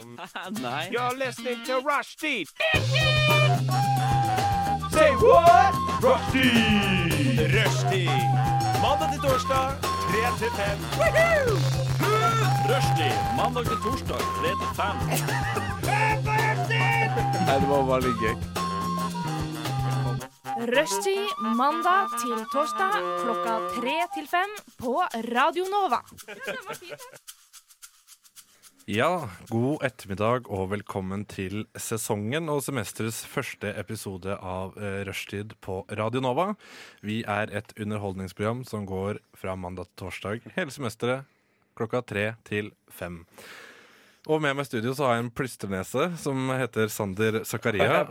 som Nei. You're listening to Rushdie! Say what? Rushdie! Rushdie! Mandag til torsdag, 3 til 5. Rushdie! Mandag til torsdag, 3 til 5. Nei, det var veldig gøy. Rushtid mandag til torsdag klokka tre til fem på Radio Nova. Ja, god ettermiddag og velkommen til sesongen og semesterets første episode av eh, Rushtid på Radio Nova. Vi er et underholdningsprogram som går fra mandag til torsdag hele semesteret klokka tre til fem. Og med meg i studio så har jeg en plystrenese som heter Sander Zakaria.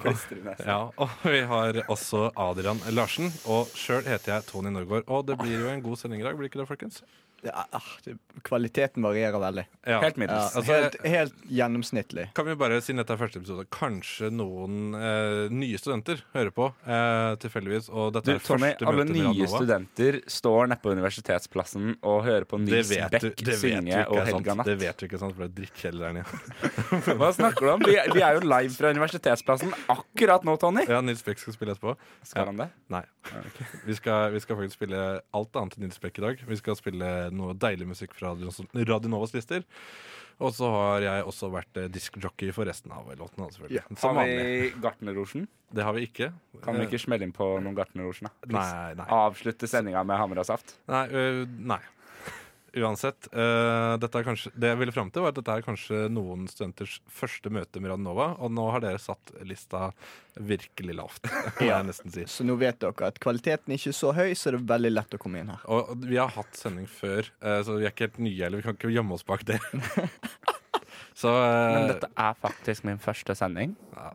Ja, og vi har også Adrian Larsen. Og sjøl heter jeg Tony Norgård. Og det blir jo en god sending i dag, blir ikke det, folkens? Ja, ah, det- kvaliteten varierer veldig. Ja. Helt Ja, middels. altså, helt, helt gjennomsnittlig. Kan vi bare, siden dette er første episode, kanskje noen eh, nye studenter hører på? Eh, tilfeldigvis. Og dette Du, er Tommy, første alle møte med nye Radnova. studenter står nede på universitetsplassen og hører på Det Nils vet du, det Beck vet du synge ikke og er sant. Helga Natt. Det vet du ikke er sant, for det er drittkjedelig der nede. Hva snakker du om? De, de er jo live fra universitetsplassen akkurat nå, Tony. Ja, Nils Beck skal spille etterpå. Skal han det? Nei. Vi skal, vi skal faktisk spille alt annet enn Nils Beck i dag. Vi skal spille noe deilig musikk fra Radio- Radionovas lister. Og så har jeg også vært eh, diskjockey for resten av låtene. da, selvfølgelig. Som Har vanlig. vi Gartnerrosjen? Det har vi ikke. Kan vi Eh, ikke smelle inn på noen Gartnerrosjen? da? Please. Nei, nei. Avslutte sendinga med hammer og saft. Nei. Øh, nei. Uansett. øh, dette er kanskje, det jeg ville fram til, var at dette er kanskje noen studenters første møte med Radionova, og nå har dere satt lista virkelig lavt, må jeg nesten si. Så nå vet dere at kvaliteten ikke er så høy, så det er veldig lett å komme inn her. Og vi har hatt sending før, øh, så vi er ikke helt nye heller. Vi kan ikke gjemme oss bak det. Så øh, Men dette er faktisk min første sending. ja,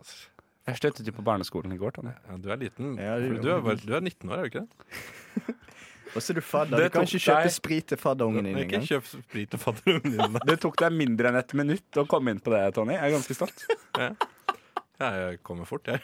Jeg sluttet jo på barneskolen i går. Tony. Du er liten. Ja, det gjør du, er, bare- du er 19 år, er du ikke det? Og så er du fadder. Det Du kan tok ikke kjøpe deg- sprit til fadderungen din Ikke engang. kjøp sprit til fadderungen din. Det tok deg mindre enn et minutt å komme inn på det, Tony. Jeg er ganske stolt. Jeg kommer fort, jeg.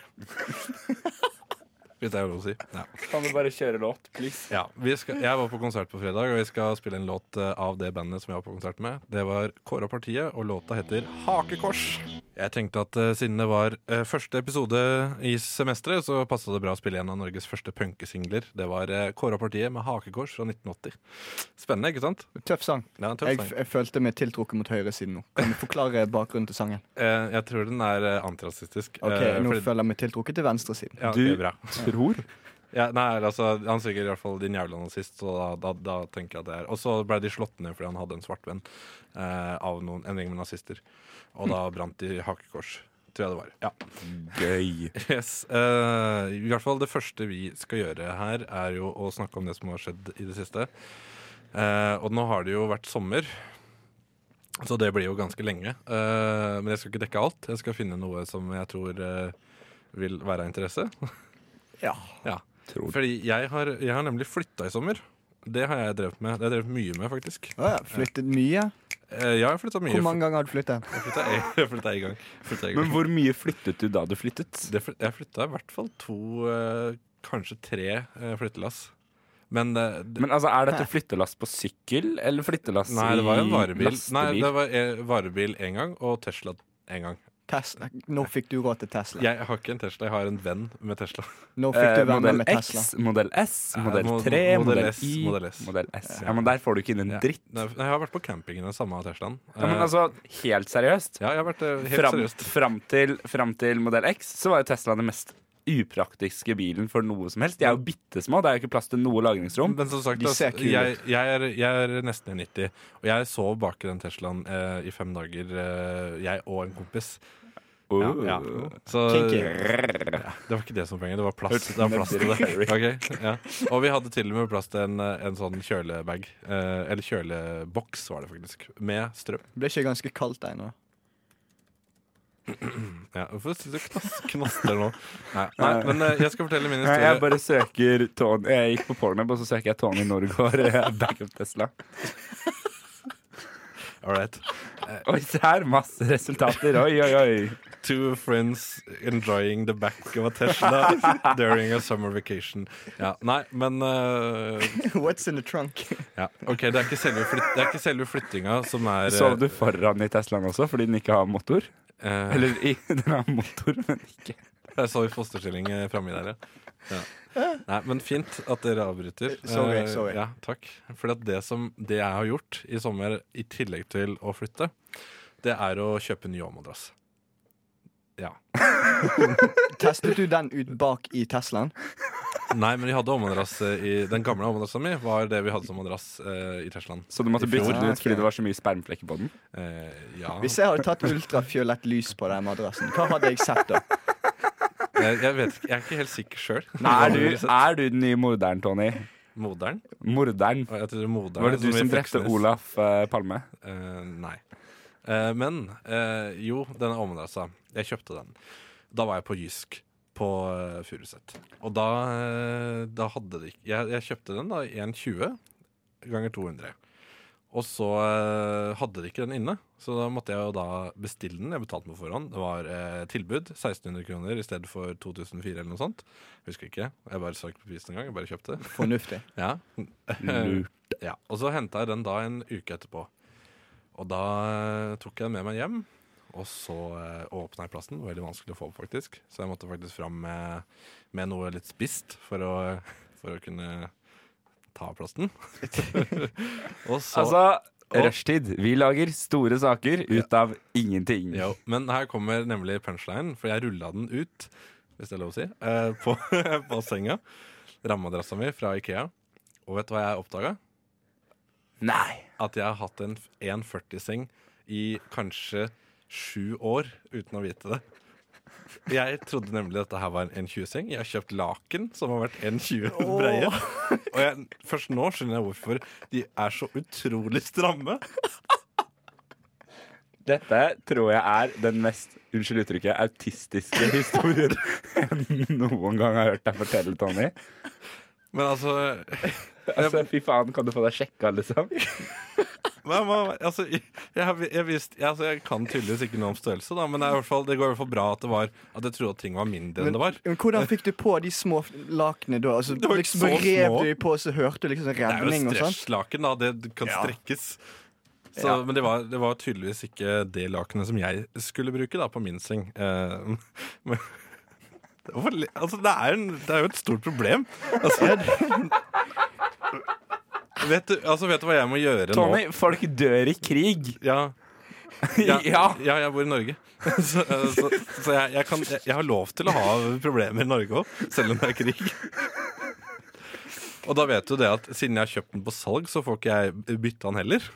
Hvis det er lov å si. Ja. Kan du bare kjøre låt, please? Ja, vi skal, Jeg var på konsert på fredag, og vi skal spille en låt eh, av det bandet som jeg var på konsert med. Det var Kåre og Partiet, og låta heter Hakekors. Jeg tenkte at eh, siden det var eh, første episode i semesteret, så passa det bra å spille en av Norges første punkesingler. Det var eh, Kåre og Partiet med Hakekors fra 1980. Spennende, ikke sant? Tøff sang. Det er en tøff Jeg, sang. jeg følte meg tiltrukket mot høyresiden nå. Kan du forklare bakgrunnen til sangen? Eh, jeg tror den er eh, antirasistisk. Ok, eh, Nå fordi- føler jeg meg tiltrukket til venstresiden. ja, Du- det er bra. Tror. Ja, nei, altså, Han synger i hvert fall 'din jævla nazist', så da, da, da tenker jeg at det er Og så ble de slått ned fordi han hadde en svart venn eh, av noen, en gjeng med nazister. Og da brant de hakekors, tror jeg det var. Ja. Gøy. Yes. Eh, I hvert fall det første vi skal gjøre her, er jo å snakke om det som har skjedd i det siste. Eh, og nå har det jo vært sommer, så det blir jo ganske lenge. Eh, men jeg skal ikke dekke alt. Jeg skal finne noe som jeg tror eh, vil være av interesse. Ja. Ja. Tror du. Fordi jeg har, jeg har nemlig flytta i sommer. Det har jeg drevet med. Det har jeg drevet mye med, faktisk. Å ja, Flyttet mye? Eh, Jeg har flytta mye. Hvor mange ganger har du flyttet? Jeg flytta en, jeg flyttet en gang. Flyttet en Men gang. hvor mye flyttet du da du flyttet? Det fly- jeg flytta i hvert fall to, eh, kanskje tre eh, flyttelass. Men, eh, det- Men altså, Er dette flyttelass på sykkel, eller flyttelass Nei, det var jo en i varebil. lastebil? Nei, det var eh, varebil én gang, og Tesla én gang. Tesla. Når fikk du råd til Tesla? Jeg har ikke en Tesla, jeg har en venn med Tesla. Når fikk Eh, du venner modell med X, Tesla? modell S, Eh, modell mo- 3, modell modell S, Y, modell S. modell S. Ja, Men der får du ikke inn en Ja. dritt. Nei, Jeg har vært på camping i den samme Teslaen. Ja, men Eh, altså, Helt seriøst. ja, jeg har vært eh, helt Fram, seriøst. fram, til, fram til modell X så var jo Tesla den mest upraktiske bilen for noe som helst. De er jo bitte små, det er jo ikke plass til noe lagringsrom. Men som sagt, De ser altså, kule jeg, jeg, er, jeg er nesten i 90, og jeg sov bak i den Teslaen eh, i fem dager, eh, jeg og en kompis. Ja, Uh. ja. Så Kinky. det var ikke det som var poenget, det var plass. Hørtes Det var ut plass som til Dirty det. Ok, ja. Og vi hadde til og med plass til en, eh, en sånn kjølebag, eh, eller kjøleboks var det faktisk, med strøm. Ble ikke ganske kaldt der nå? Ja, hvorfor synes du knas, knaster nå? Nei, nei, men eh, jeg skal fortelle min Nei, Jeg historie. bare søker Tony Jeg gikk på Pornhub, og så søker jeg Tony Norgård eh, backup Tesla. All right. Oi, se her! Masse resultater. Oi, oi, oi. Two friends enjoying the back of a Tesla during a summer vacation. Ja, nei, men eh, What's in the trunk? ja. OK, det er ikke selve, flyt det er ikke selve flyttinga som er eh, Sov du foran i Teslaen også fordi den ikke har motor? eh, Eller i, den har motor, men ikke Jeg så i fosterstilling eh, framme i der, ja. ja. Eh. Nei, men fint at dere avbryter. Sorry, Eh, sorry. Ja, takk. For at det, som, det jeg har gjort i sommer, i tillegg til å flytte, det er å kjøpe ny overmadrass. Ja. Testet du den ut bak i Teslaen? Nei, men vi hadde overmadrass eh, i Den gamle overmadrassa mi var det vi hadde som madrass eh, i Teslaen. Så du måtte I bytte fjor. den ut fordi det var så mye spermflekker på den? Eh, ja. Hvis jeg hadde tatt ultrafiolett lys på den madrassen, hva hadde jeg sett da? Jeg, jeg vet ikke, jeg er ikke helt sikker sjøl. Er du, er du den nye morderen, Tony? Moderen? Morderen. Og Jeg tror moderen Var det er du i som drepte Fleksnes. Olaf eh, Palme? Eh, nei. Eh, men eh, jo, denne omdrassa. altså. Jeg kjøpte den. Da var jeg på Jysk på uh, Furuset. Og da, eh, da hadde det ikke jeg, jeg kjøpte den da i 1,20 ganger 200. Og så eh, hadde de ikke den inne, så da måtte jeg jo da bestille den. Jeg betalte på forhånd. Det var eh, tilbud. 1600 kroner i stedet for 2004 eller noe sånt. Husker ikke. Jeg bare så ikke på prisen engang. Jeg bare kjøpte. Fornuftig. Ja. Lurt. ja. Og så henta jeg den da en uke etterpå. Og da eh, tok jeg den med meg hjem, og så eh, åpna jeg plassen. Det var Veldig vanskelig å få opp, faktisk. Så jeg måtte faktisk fram med, med noe litt spist for å, for å kunne ta av plassen. og så Altså, rushtid. Vi lager store saker ut av ingenting. Jo, men her kommer nemlig punchline, for jeg rulla den ut, hvis det er lov å si, eh, på, på senga. Rammadrassa mi fra Ikea. Og vet du hva jeg oppdaga? Nei. at jeg har hatt en 1,40-seng i kanskje sju år uten å vite det. Jeg trodde nemlig dette her var en 1,20-seng. Jeg har kjøpt laken som har vært 1,20 breie. Og jeg, først nå skjønner jeg hvorfor de er så utrolig stramme. Dette tror jeg er den mest unnskyld uttrykket, autistiske historien jeg noen gang har hørt deg fortelle, Tony. Men altså, Altså, Fy faen, kan du få deg sjekka, liksom? men, men, altså jeg, jeg, jeg, visste- jeg, altså, jeg kan tydeligvis ikke noe om størrelse, da, men det, er i hvert fall, det går i hvert fall bra at det var At jeg trodde at ting var mindre enn det var. Men hvordan fikk du på de små lakene da? Altså, Det var ikke liksom så Rev små. du de på, så hørte du liksom sånn Det er redning jo og sånn? stretchlaken, da. Det kan strekkes. Så, Ja. Men det var, det var tydeligvis ikke det lakenet som jeg skulle bruke da, på min seng. Eh, men, Hvorfor le- altså, det, er en, det er jo et stort problem. Altså, vet, du, altså, vet du hva jeg må gjøre nå? Tony, folk dør i krig. Ja, ja, ja. jeg bor i Norge. Så, eh, så, så jeg, jeg, kan, jeg, jeg har lov til å ha problemer i Norge òg, selv om det er krig. Og da vet du det at siden jeg har kjøpt den på salg, så får ikke jeg bytte den heller.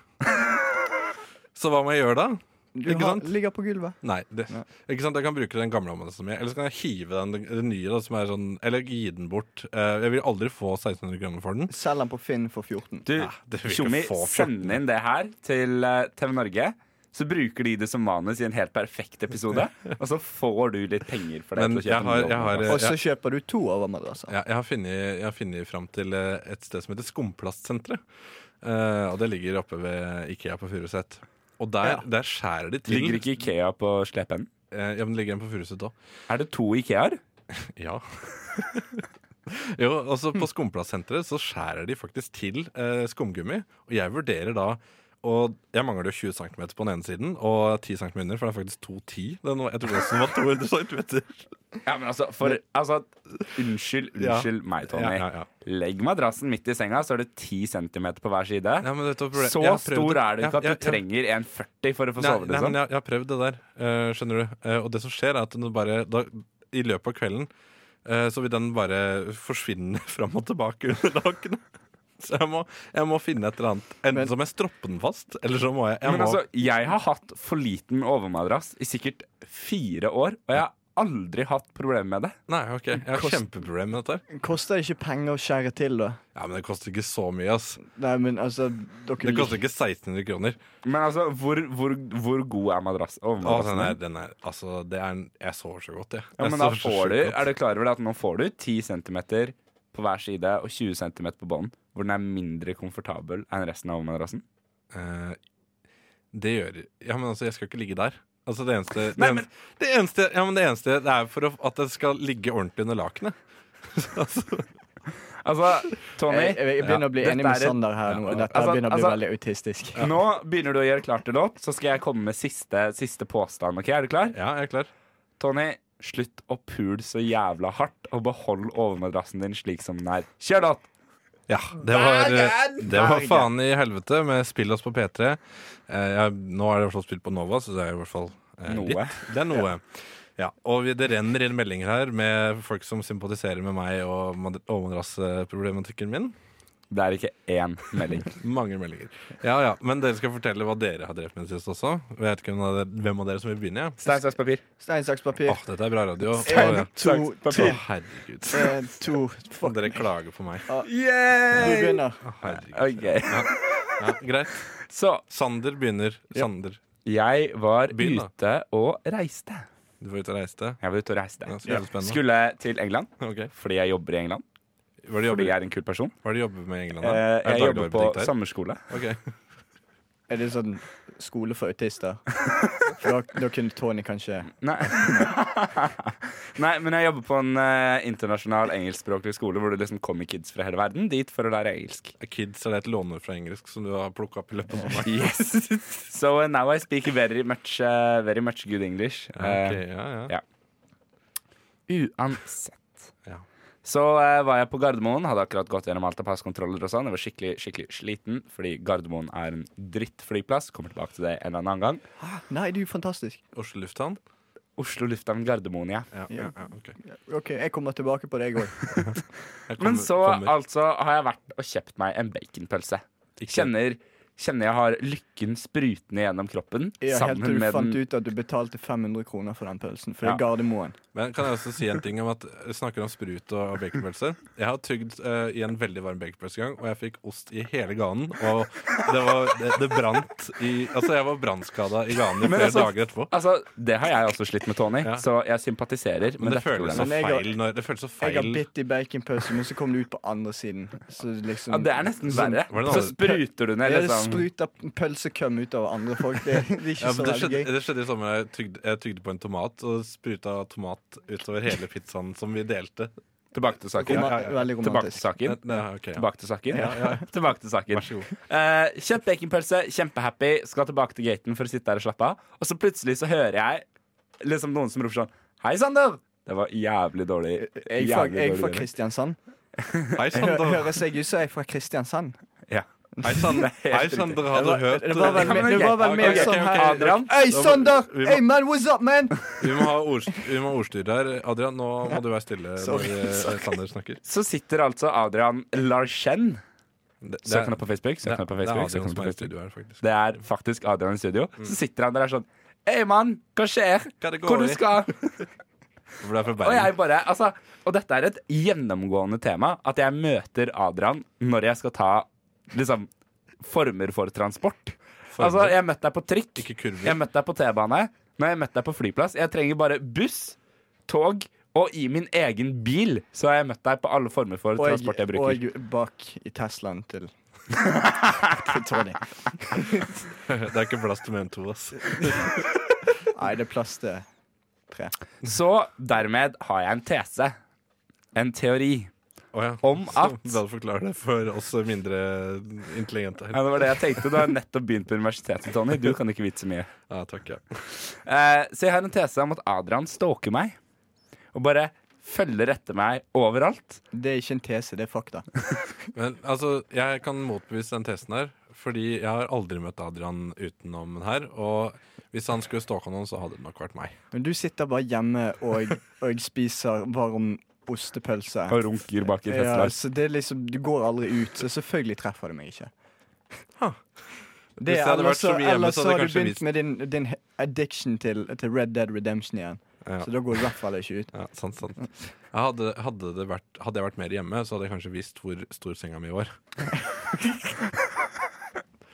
Så hva må jeg gjøre da? sånn. Du Ikke har, sant? ligger på gulvet. Nei, det, ikke sant? Jeg kan bruke den gamle ammonessen min. Eller så kan jeg hive den, den nye, da, som er sånn, eller gi den bort. Eh, Jeg vil aldri få 1600 kroner for den. Selg den på Finn for 14. Du, Nei, det vil ikke Tjommi, få fjorten. send inn det her til eh, TV Norge. Så bruker de det som manus i en helt perfekt episode. Og så får du litt penger for det. Men til å kjøpe jeg har- eh, en jeg har, robot. Og så kjøper du to overmadrasser. Ja, jeg har funnet, jeg har funnet fram til eh, et sted som heter Skumplast-senteret. Eh, og det ligger oppe ved Ikea på Furuset. Og der, der skjærer de til. Ligger ikke Ikea på slepen? Eh, ja, men det ligger en på Furuset òg. Er det to Ikeaer? Ja. jo, også på Skumplast-senteret så skjærer de faktisk til eh, skumgummi. Og jeg vurderer da og Jeg mangler jo 20 cm på den ene siden og 10 cm under, for det er faktisk 2,10. Den var- Jeg trodde også den var 200 cm. Ja, men altså, for, altså Unnskyld, Ja. unnskyld meg, Tony. Ja, ja, ja. Legg madrassen midt i senga, så er det 10 cm på hver side. Ja, men vet du hva problemet- så jeg har prøvd stor det. er du ikke Ja, at du ja, ja. trenger 1,40 for å få Nei, sove. nei, Liksom. men jeg, jeg har prøvd det der, eh, skjønner du. Eh, og det som skjer, er at den bare da, I løpet av kvelden eh, så vil den bare forsvinne fram og tilbake under lakenet. Så jeg må, jeg må finne et eller annet. Enten så må jeg stroppe den fast, eller så må jeg, jeg Men må, altså, jeg har hatt for liten overmadrass i sikkert fire år, og jeg har aldri hatt problemer med det. Nei, ok, jeg har Kost- kjempeproblem med dette. her. Koster det ikke penger å skjære til, da? Ja, Men det koster ikke så mye, ass. Nei, men altså dere Det koster ikke 1600 kroner. Men altså, hvor, hvor, hvor god er madrass? Å, den overmadrassen er, din? den er, altså, det er en, jeg sover så godt, jeg. Ja, Jeg men da sover så får sjukt du, godt. er du klar over det at nå får du 10 cm på hver side og 20 cm på bånd, hvor den er mindre komfortabel enn resten av overmadrassen? Eh, det gjør Ja, men altså, jeg skal ikke ligge der. Altså det eneste det, Nei, en- men- det eneste Ja, men det eneste Det er for å, at det skal ligge ordentlig under lakenet. altså, Altså, Tony, Jeg, jeg, jeg begynner å bli Ja. enig Dette med er et- Sander her nå. Dette Altså- begynner å bli altså- veldig autistisk. nå begynner du å gjøre klart til låt, så skal jeg komme med siste, siste påstand. Ok, Er du klar? ja, jeg er klar. Tony, slutt å pule så jævla hardt, og behold overmadrassen din slik som den er. Kjør låt! Ja, det var, eh, det var faen i helvete med Spill oss på P3. Eh, jeg, nå er det i hvert fall spilt på Nova, så det er i hvert fall eh, Noe. litt. Det er noe. Ja, og vi, Det renner inn meldinger her med folk som sympatiserer med meg og mad- overmadrassproblematikken min. Det er ikke én melding. Mange meldinger. Ja, ja, Men dere skal fortelle hva dere har drevet med sist også. Jeg vet ikke hvem av dere, hvem av dere som vil begynne. Ja. Stein, saks, papir. Stein, saks, papir. Åh, dette er bra radio. Åh, En, ja. to, Saks, tre. papir. Åh, herregud. En, to Faen, Dere klager på meg. Du begynner. Åh, herregud. Ok, Ja, greit. Så Sander begynner. Sander, jeg var Begynn, da. ute og reiste. du får ut og reiste. Jeg var ute og reiste. Ja, så jævlig spennende. Skulle til England Ok. fordi jeg jobber i England. Hva er det du Fordi jobber, jeg er en kul person. hva er det du jobber med i England? da? Eh, Er det Jeg jobber på dagligvarebutikk der? sommerskole. Ok. Er det sånn skole for autister? For da, da kunne Tony kanskje Nei. Nei, men jeg jobber på en eh, internasjonal engelskspråklig skole hvor det liksom kommer kids fra hele verden dit for å lære engelsk. Kids er det et låneord fra engelsk som du har plukka opp i løpet av sommeren? Yes. So uh, now I speak very much, uh, very much good English. Ja, Eh, ok, ja, ja. ja. Uansett. Ja. Så eh, var jeg på Gardermoen, hadde akkurat gått gjennom alt av passkontroller og sånn. Jeg var skikkelig, skikkelig sliten, fordi Gardermoen er en drittflyplass. Kommer tilbake til det en eller annen gang. Nei, du er fantastisk. Oslo lufthavn? Oslo lufthavn Gardermoen, ja. Ja, ja, ja, ok. OK, jeg kommer tilbake på deg òg. Jeg kommer- Men så kommer. altså har jeg vært og kjøpt meg en baconpølse. Ikke- Kjenner, kjenner jeg har lykken sprutende gjennom kroppen. Ja, helt sammen til du med fant den ut at du betalte 500 kroner for den pølsen. For det er Ja. Gardermoen. Men kan jeg også si en ting om at jeg snakker om sprut og og baconpølser? Jeg har tygd eh, i en veldig varm baconpølse en gang, og jeg fikk ost i hele ganen. Og det, var, det, det brant i Altså, jeg var brannskada i ganen i Men flere altså- dager etterpå. Altså, Det har jeg også slitt med, Tony, Ja. så jeg Men sympatiserer. med det dette føles så Men problemet. jeg har- feil når Det føles så Jeg har feil. bitt i baconpølse, men så kom det ut på andre siden. Så liksom Ja, Det er nesten sånn- verre. Hvordan Så hadde- spruter du ned, Ja, det liksom. spruter pølsekøm ut av andre folk. Det, det er ikke Ja, så men det, veldig skjedde, gøy. det skjedde i sommer. Jeg tygde, jeg tygde på en tomat og spruta tomat utover hele pizzaen som vi delte. Tilbake til saken. Roma, ja, ja. Veldig Tilbake til romantisk. saken. Det- det- ok, ja. Tilbake til saken. ja. Tilbake til saken. Vær så god. Eh, kjøpt baconpølse, kjempehappy, skal tilbake til gaten for å sitte der og slappe av. Og så plutselig så hører jeg liksom noen som roper sånn Hei, Sander! Det var jævlig dårlig. Jeg er fra, jævlig jeg er fra dårlig. Kristiansand. Hei, Hø- Sander. Høres jeg ut som jeg er fra Kristiansand? Ja. Hei, Sander. Det er Hei, helt Sander. Det Har du var, hørt det var vel, Ja, men det var vel ok, mer ok, sånn ok, her Adrian. Hei, Sander! Vi må- Hey man, what's up, man? Vi må ha ordst- vi må ha ordstyr her. Adrian, nå må du være stille når Sorry, eh, Sander snakker. Så sitter altså Adrian Larsen Det, det, Søk er- han opp på Facebook. Søk det, han opp på er- det er Facebook. søk Adrian han opp som er på i Facebook. studio her, faktisk. Det er faktisk Adrian i studio. Så sitter han der og er sånn Hei, mann, hva skjer? Hva det går Hvor du i?» skal? For det er fra Og Bergen. jeg bare, altså Og dette er et gjennomgående tema. At jeg møter Adrian når jeg skal ta liksom former for transport. Former? Altså, jeg møtte deg på trikk. Ikke kurver. Jeg møtte deg på T-bane. Når jeg møtte deg på flyplass. Jeg trenger bare buss, tog og i min egen bil. Så har jeg møtt deg på alle former for Og, transport jeg bruker. og bak i Teslaen til til Tony. Det er ikke plass til mer enn to. ass. Nei, det er plass til tre. Så dermed har jeg en tese. En teori. Å ja. Om Så at- Da forklarer det for oss mindre intelligente Ja, her. det var det jeg tenkte. Du har nettopp begynt på universitetet, Tony. Du kan ikke vite så mye. Ja, takk, ja. Eh, så jeg har en tese om at Adrian stalker meg. Og bare følger etter meg overalt. Det er ikke en tese, det er fakta. Men altså, jeg kan motbevise den testen her. Fordi jeg har aldri møtt Adrian utenom den her. Og hvis han skulle stalka noen, så hadde det nok vært meg. Men du sitter bare hjemme og, og spiser varm ostepølse. Og runker bak i Ja, Tesla. så det er liksom, du går aldri ut, så selvfølgelig treffer du meg ikke. Hvis jeg hadde ellers vært så mye hjemme, ellers så hadde jeg har du kanskje begynt vist med din, din he- addiction til, til Red Dead Redemption igjen. Ja. Så da går du i hvert fall ikke ut. ja, sant, sant. Jeg hadde, hadde, det vært, hadde jeg vært mer hjemme, så hadde jeg kanskje visst hvor stor senga mi var.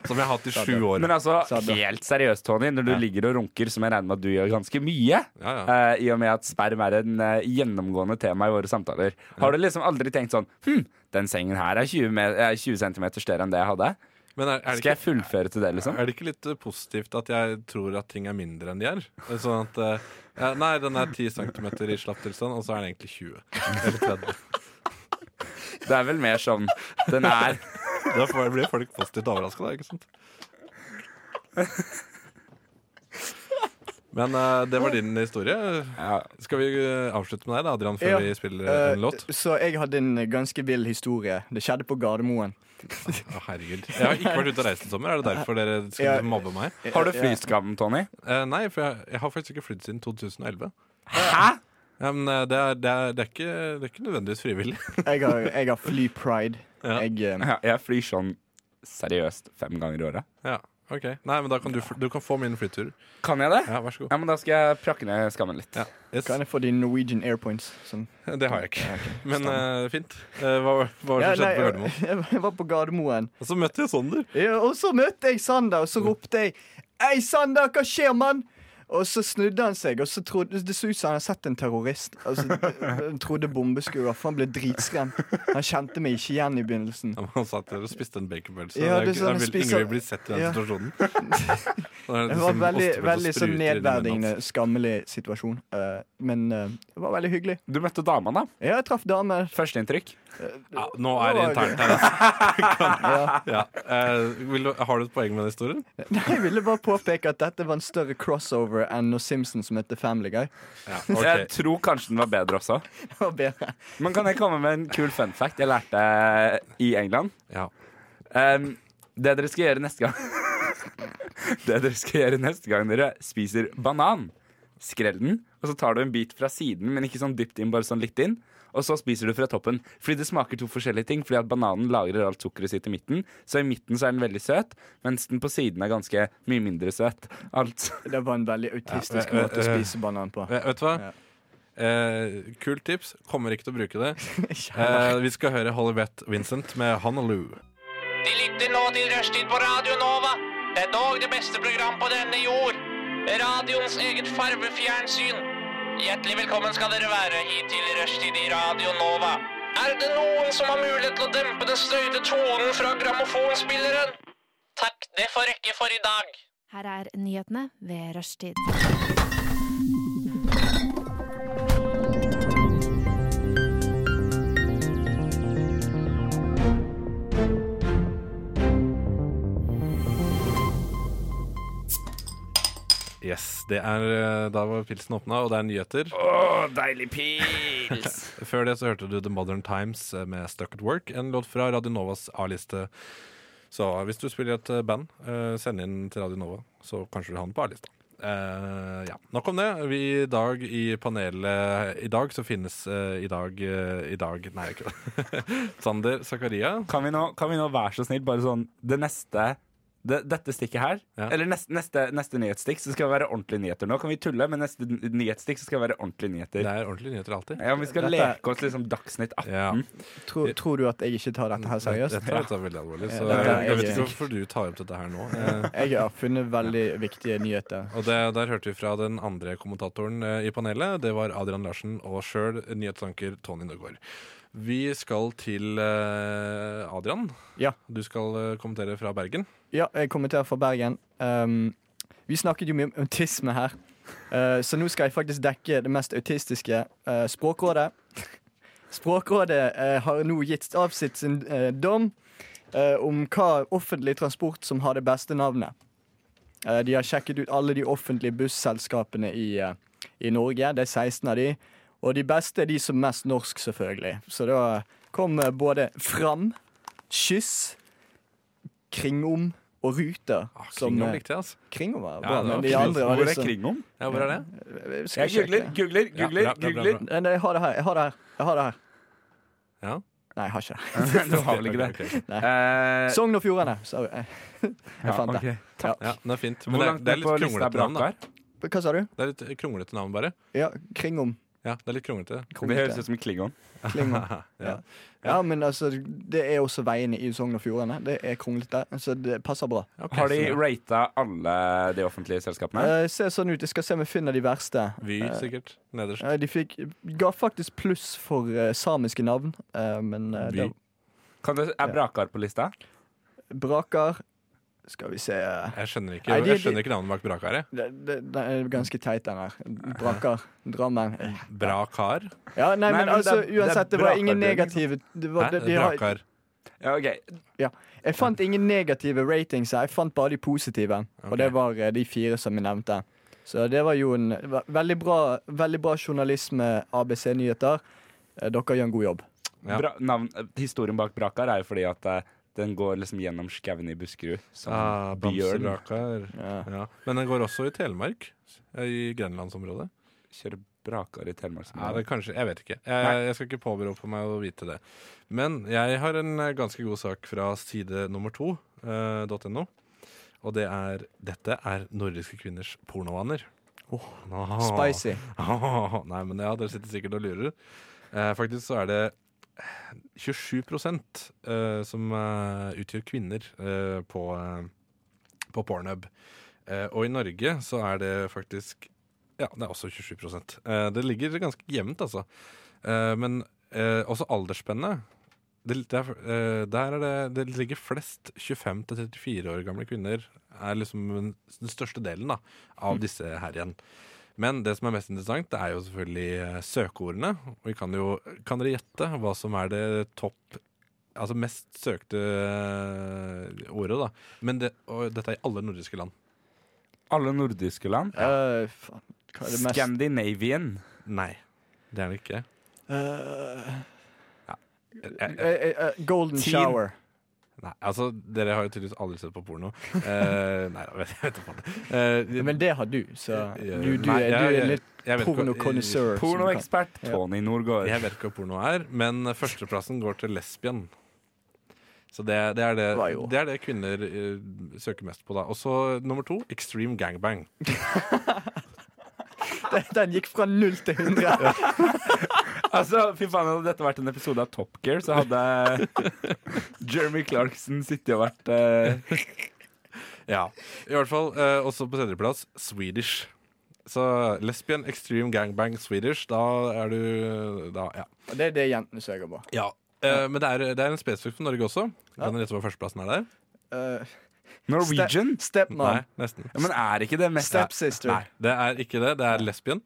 Som jeg har hatt i sju år. Men altså, Sa det. helt seriøst, Tony, når du Ja. ligger og runker, som jeg regner med at du gjør ganske mye, Ja, ja. eh, i og med at sperm er en eh, gjennomgående tema i våre samtaler, har du liksom aldri tenkt sånn Hm, den sengen her er 20, me- er 20 cm større enn det jeg hadde? Men er, er, Skal det jeg fullføre til det, ikke, liksom? er det ikke litt eh, positivt at jeg tror at ting er mindre enn de er? Eh, Sånn at eh, ja, Nei, den er 10 cm i slapp tilstand, og så er den egentlig 20. Eller 30. Det er vel mer sånn Den er Da får- blir folk positivt overraska, da. Ikke sant? Men eh, det var din historie. ja, Skal vi eh, avslutte med deg, da, Adrian, før Ja. vi spiller eh, Eh, en låt? så jeg hadde en ganske vill historie. Det skjedde på Gardermoen. Å, herregud. Jeg har ikke vært ute og reist i sommer. Er det derfor dere Ja. skulle mobbe meg? Har du flyskammen, Tony? Eh, nei, for jeg, jeg har faktisk ikke flydd siden 2011. Hæ? Ja, men eh, det er, det er, det er, ikke, det er ikke nødvendigvis frivillig. Ja, Jeg har, jeg har flypride. Ja. Jeg, eh, Ja, jeg flyr sånn seriøst fem ganger i året. ja, ok Nei, men da kan du, fl- du kan få min flytur. Kan jeg det? Ja, vær så god. Ja, men Da skal jeg prakke ned skammen litt. Ja. Yes. kan jeg få de Norwegian airpoints? Sånn. Det har jeg ikke. Men eh, fint. Eh, hva var hva var det Ja, som skjedde på nei, Gardermoen? jeg, jeg var på Gardermoen, Og så møtte jeg Sander. ja, og så møtte jeg Sander, og så ropte jeg 'Hei, Sander, hva skjer, mann?' Og så snudde han seg, og så trodde, det så ut som han hadde sett en terrorist. Altså, han trodde bombeskuer, for han ble dritskremt. Han kjente meg ikke igjen i begynnelsen. Ja, men Han satt der og spiste en baconpølse. Ja, det er det er ikke- jeg sånn, vil- spiser- Ingen vil bli sett i den Ja. situasjonen. Da er Det liksom var veldig, ostepølse veldig sånn spruter i altså. munnen nedverdigende, hans. skammelig situasjon. Eh, men eh, det var veldig hyggelig. Du møtte dama, da. Ja, jeg traff damer. Førsteinntrykk. Ja, nå er det Nå var det- internt her, altså. Kan- ja. Eh, vil du, har du et poeng med den historien? Nei, jeg ville bare påpeke at dette var en større crossover enn når Simpsons møtte Family Guy. Ja, Jeg tror kanskje den var bedre også. Det var bedre. Men kan jeg komme med en kul fun fact jeg lærte i England? ja. Ehm, det dere skal gjøre neste gang Det dere skal gjøre neste gang dere spiser banan, skrell den, og så tar du en bit fra siden, men ikke sånn dypt inn, bare sånn litt inn. Og så spiser du fra toppen. Fordi det smaker to forskjellige ting. Fordi at bananen lagrer alt sukkeret sitt i midten. Så i midten så er den veldig søt, mens den på siden er ganske mye mindre søt. Altså Det var en veldig Ja, autistisk øh, måte å øh. spise banan på. Eh, Vet du hva? Ja. Eh, Kult tips. Kommer ikke til å bruke det. Kjære. Eh, vi skal høre Hollybeth Vincent med 'Honolulu'. De lytter nå til Rushtid på Radio Nova. Det er dog det beste program på denne jord. Radioens eget farvefjernsyn. Hjertelig velkommen skal dere være hit til Rushtid i Radio Nova. Er det noen som har mulighet til å dempe den støyte tonen fra grammofonspilleren? Takk, det får rekke for i dag. Her er nyhetene ved rushtid. Yes, det er eh, Da var pilsen åpna, og det er nyheter. deilig pils! Før det så hørte du The Modern Times eh, med Stuck at Work, en låt fra Radio Novas A-liste. Så eh, hvis du spiller i et band, eh, send inn til Radio Nova, så kanskje du har den på A-lista. Eh, ja, Nok om det. Vi i dag i panelet i dag så finnes eh, i dag eh, I dag Nei, ikke det. Sander Zakaria. Kan vi, nå, kan vi nå være så snill bare sånn Det neste det, Dette stikket her Ja. Eller neste, neste, neste nyhetsstikk Så skal det være ordentlige nyheter Nå kan vi tulle Men neste n- nyhetsstikk Så skal det være ordentlige Det nyheter er ordentlige nyheter alltid. Ja, men vi skal Dette er- leke oss liksom Dagsnytt 18 Ja. Tror, tror du at jeg ikke tar dette her Mm, seriøst? Dette er dette er veldig alvorlig, så jeg, Ja, dette er vet jeg- ikke hvorfor du tar opp dette her nå. Eh, Jeg har funnet veldig viktige nyheter. Og det, der hørte vi fra den andre kommentatoren eh, i panelet. Det var Adrian Larsen og sjøl nyhetsanker Tony Nøgaard. Vi skal til eh, Adrian. Ja. Du skal eh, kommentere fra Bergen. Ja, jeg kommenterer fra Bergen. Um, vi snakket jo mye om autisme her. Uh, så nå skal jeg faktisk dekke det mest autistiske. Uh, språkrådet. Språkrådet uh, har nå gitt av sitt sin uh, dom uh, om hva offentlig transport som har det beste navnet. Uh, de har sjekket ut alle de offentlige busselskapene i, uh, i Norge. Det er 16 av de. Og de beste er de som er mest norsk, selvfølgelig. Så da kom uh, både Fram, Kyss, Kringom og Ruter. Ah, som, Kringom eh, likte jeg, altså. Kringom Ja, var bra, det var men de kult. andre var Hvor er liksom kringom? Ja, hvor er det? Jeg skal Jeg sjekke. googler, googler, Ja, googler, bra, bra, bra, googler Nei, nei, Jeg har det her. Jeg har det her. Jeg har det her. Ja. Nei, jeg har ikke det. Du har vel ikke det Ok, ok, ok. Eh, Sogn og Fjordane. Eh, Sorry. Jeg fant det. ok. Ja, det er fint. Men Hvor det, er- langt det er ned litt på lista kronglete er navn, da. brakar? Hva sa du? Det er litt kronglete navn, bare. Ja, Kringom. Ja, det er litt kronglete. Det høres ut som klingon Klingon. Ja. Ja, men altså, det er også veiene i Sogn og Fjordane. Det er kronglete, så det passer bra. Ok, Har de så- ratet alle de offentlige selskapene? Eh, ser sånn ut. Jeg skal se om jeg finner de verste. Vy, sikkert. Nederst. Eh, de fikk, ga faktisk pluss for eh, samiske navn, eh, men eh, Vy. det, Kan du, er brakar på lista? Braker Skal vi se eh, Jeg skjønner ikke, Nei, de- jeg skjønner ikke navnet bak brakaret. det, det, det er ganske teit, den her. Braker. Drammen. Bra kar? Ja, nei, Nei, men, men altså, det er- det er uansett, det var Brakar, ingen det er liksom- negative det var, Hæ? det, de har, Brakar. Ja, ok. ja. Jeg fant ingen negative ratings her. Jeg fant bare de positive. Og det var eh, de fire som jeg nevnte. Så det var jo en det var veldig bra, veldig bra journalisme, ABC Nyheter. Eh, Dere gjør en god jobb. Ja. Bra, navn, eh, historien bak Brakar er jo fordi at eh, den går liksom gjennom skauen i Buskerud. Som Ah, bjørn Bamsebrakar. Ja. Ja. Men den går også i Telemark. eh, I Grenlandsområdet. kjører Brakar i Telemark. som Ja, er- det kanskje, Jeg vet ikke. Jeg, Nei. jeg skal ikke påberope meg å vite det. Men jeg har en eh, ganske god sak fra side nummer to, eh, .no. Og det er Dette er nordiske kvinners pornovaner. Ah. Spicy. Ah, Nei, men ja, dere sitter sikkert og lurer. Eh, faktisk så er det 27 eh, som eh, utgjør kvinner eh, på, eh, på Pornhub. Eh, og i Norge så er det faktisk Ja, det er også 27 eh, Det ligger ganske jevnt, altså. Eh, men eh, også aldersspennet. Det, det er, eh, der er det, det ligger flest 25 til 34 år gamle kvinner. er liksom den, den største delen da, av disse her igjen. Men det som er mest interessant, det er jo selvfølgelig eh, søkeordene. Og vi kan jo Kan dere gjette hva som er det topp Altså mest søkte eh, ordet, da. Men det, og dette er i alle nordiske land. Alle nordiske land. Eh, faen, hva er det mest Scandinavian. Nei, det er det ikke. Eh, Jeg, jeg, eh, eh, golden Teen. shower. nei, altså, dere har jo tydeligvis aldri sett på porno. Eh, nei da, vet jeg vet ikke. Eh, Men det har du, så Ja, du, du, nei, er, jeg- du er jeg- litt jeg vet ikke hva- pornokonnissør. som du kan- Pornoekspert Ja. Tony Norgård. Jeg vet ikke hva porno er, men førsteplassen går til lesbien. Så det, det, er det, Hva jo? det er det kvinner eh, søker mest på, da. Og så nummer to extreme gangbang. Den- Den gikk fra null til 100. Altså, fy faen, Hadde dette vært en episode av Top Gear, så hadde eh, Jeremy Clarkson sittet og vært eh, Ja, i hvert fall eh, Også på tredjeplass, Swedish Så lesbian, extreme, gangbang, Swedish Da er du da, ja. Og det er det jentene søker på. Eh, Men det er, det er en spesifikk for Norge også Kan dere gjette hva førsteplassen er der? Eh, Norwegian. ste- Stepmom. Nei, nesten Ja, men er ikke det mest Stepsister. Nei, det er ikke det, det er lesbian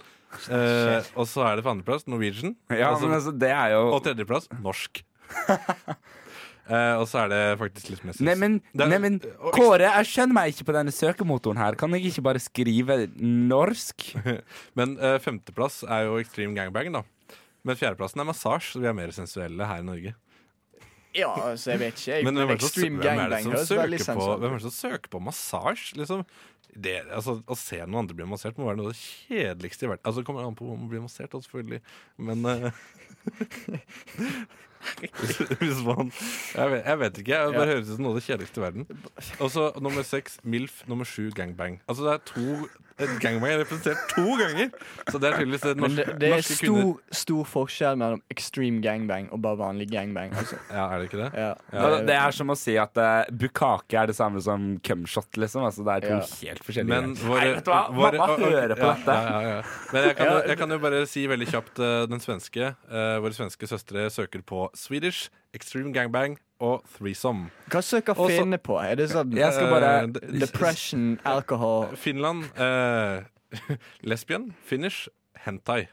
Eh, Og så er det på andreplass, Norwegian Ja, altså, men altså, det er jo Og tredjeplass, norsk Eh, Og så er det faktisk litt mest Neimen, Det er- neimen, og- Kåre, jeg skjønner meg ikke på denne søkemotoren her. Kan jeg ikke bare skrive norsk? Men eh, femteplass er jo extreme gangbang da Men fjerdeplassen er massage Så vi er mer sensuelle her i Norge Ja, altså, jeg vet ikke. Jeg, Men men hvem er det som- extreme hvem er det gangbang som høres veldig søker på- sensuelt hvem er det som søker på massasje, liksom? Det, altså, å se noen andre bli massert må være noe av det kjedeligste i verden. Altså, det kommer an på hvor man blir massert, da, selvfølgelig, men eh, hvis, hvis man jeg vet, jeg vet ikke. Jeg bare høres ut som noe av det kjedeligste i verden. Og så nummer seks, MILF. Nummer sju, gangbang. Altså, det er to et Gangbang er representert to ganger! Så det er tydeligvis det Men norske, det, det er norske kvinner stor, stor forskjell mellom extreme gangbang og bare vanlig gangbang. Altså. Ja, er det ikke det? Ja, Eh, Altså, Det er som å si at eh, bukake er det samme som cumshot, liksom. Altså, det er to Ja. helt forskjellige Men greier. våre, Nei, vet du hva? våre- Mamma å- å- hører på ja, dette. Ja, ja, ja. Men jeg kan, Ja, jo- jeg kan jo bare si veldig kjapt eh, den svenske. Eh, våre svenske søstre søker på Swedish, Extreme Gangbang og Threesome. Hva søker Også- finnene på? Er det sånn Jeg skal bare Eh, d- depression, alcohol Finland, eh, lesbian, Finnish, hentai.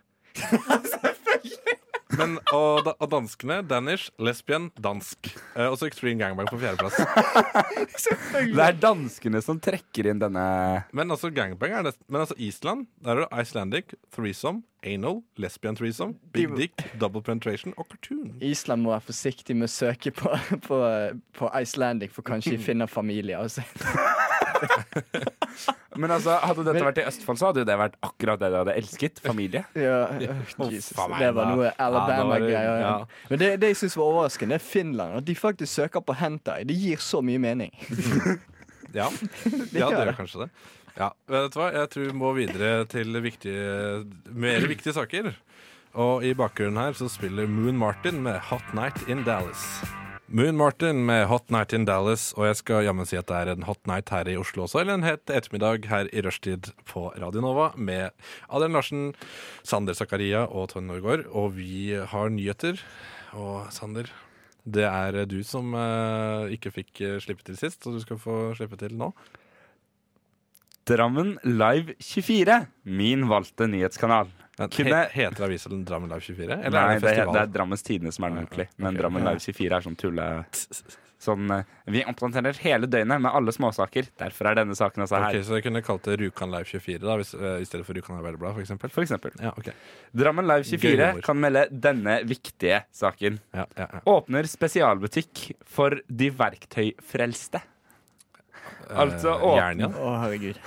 Men, og, da- og danskene, Danish, lesbian, dansk. Eh, og så Extreme Gangbang på fjerdeplass. Det er danskene som trekker inn denne Men altså gangbang er det Men altså Island, der er det Icelandic, threesome, anal, lesbian threesome, big dick, double penetration og cartoon. Island må være forsiktig med å søke på, på, eh, på Icelandic, for kanskje de finner familie. Altså. Men altså, hadde dette Men- vært i Østfold, så hadde jo det vært akkurat det de hadde elsket. Familie. Ja, øh, Jesus. Det var noe Alabama-greier. Ja. Men det, det jeg syns var overraskende, er Finland. At de faktisk søker på hentai. Det gir så mye mening. Ja, ja det gjør kanskje det. Ja, vet du hva? Jeg tror vi må videre til viktige, mer viktige saker. Og i bakgrunnen her så spiller Moon Martin med Hot Night in Dallas. Moon Martin med Hot Night in Dallas, og jeg skal jammen si at det er en hot night her i Oslo også, eller en het ettermiddag her i rushtid på Radio Nova med Adrian Larsen, Sander Zakaria og Tony Norgård. Og vi har nyheter. Og Sander, Det er eh, du som eh, ikke fikk eh, slippe til sist, så du skal få slippe til nå. Drammen Live 24, min valgte nyhetskanal. Men, he Kunne- heter avisen Drammen Live 24? Eller Nei, er det det, er, festival? det er Drammens Tidende som er den ordentlige. Men Drammen Live 24 er sånn tulle... Sånn, eh, vi oppdaterer hele døgnet med alle småsaker. Derfor er denne saken altså her. Ok, så jeg kunne kalt det Rjukan Live 24 da, hvis, eh, i stedet for Rjukan Arbeiderblad, for eksempel? For eksempel. Ja, ok. Drammen Live Gøy 24 humor. kan melde denne viktige saken. Ja, ja, ja. Åpner spesialbutikk for de verktøyfrelste. Altså Eh, åpne- Jernia? Å, herregud.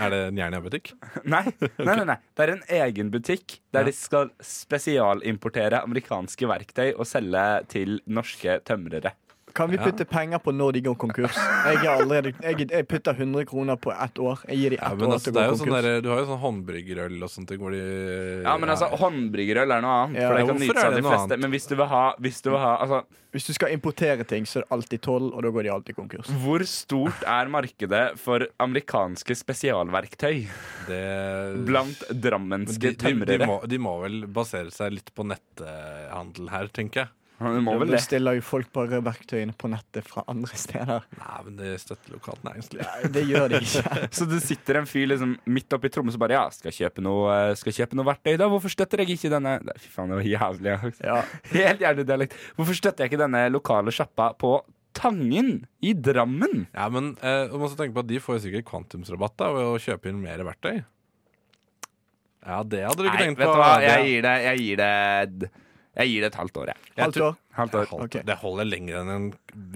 Er det en Jernia-butikk? Nei, nei, nei, nei. Det er en egen butikk der Ja. de skal spesialimportere amerikanske verktøy og selge til norske tømrere. Kan vi Ja. putte penger på når de går konkurs? Jeg, er allerede, jeg, jeg putter 100 kroner på ett år. Jeg gir de Ja, ett men år altså, til det å er gå jo sånn konkurs. der, du har jo sånn håndbryggerøl og sånne ting hvor de Ja, men altså, håndbryggerøl er noe annet. Ja, for det kan hvorfor nytes er av det de noe fleste. annet? Men hvis du vil ha, hvis du vil ha altså, Hvis du skal importere ting, så er det alltid toll, og da går de alltid konkurs. Hvor stort er markedet for amerikanske spesialverktøy det, blant Men drammenske de, de, de, tømrere? må, de må vel basere seg litt på netthandel her, tenker jeg. Du må vel Da det. bestiller jo folk bare verktøyene på nettet fra andre steder. Nei, men det støtter lokalt næringsliv. Nei, Det gjør de ikke. Så det sitter en fyr liksom midt oppi Tromsø og bare Ja, skal jeg kjøpe noe, eh, skal jeg kjøpe noe verktøy, da? Hvorfor støtter jeg ikke denne Nei, Fy faen, det var jævlig. ja. Ja. Helt jævlig dialekt. Hvorfor støtter jeg ikke denne lokale sjappa på Tangen i Drammen? Ja, men eh, du må også tenke på at de får jo sikkert kvantumsrabatt da, ved å kjøpe inn mer verktøy. Ja, det hadde du ikke Nei, tenkt vet på. du hva, Det- jeg gir det, jeg gir det Jeg gir det et halvt år, jeg. Jeg Halvt tror- år. Halvt år. Halvt- Ok. Det holder lenger enn en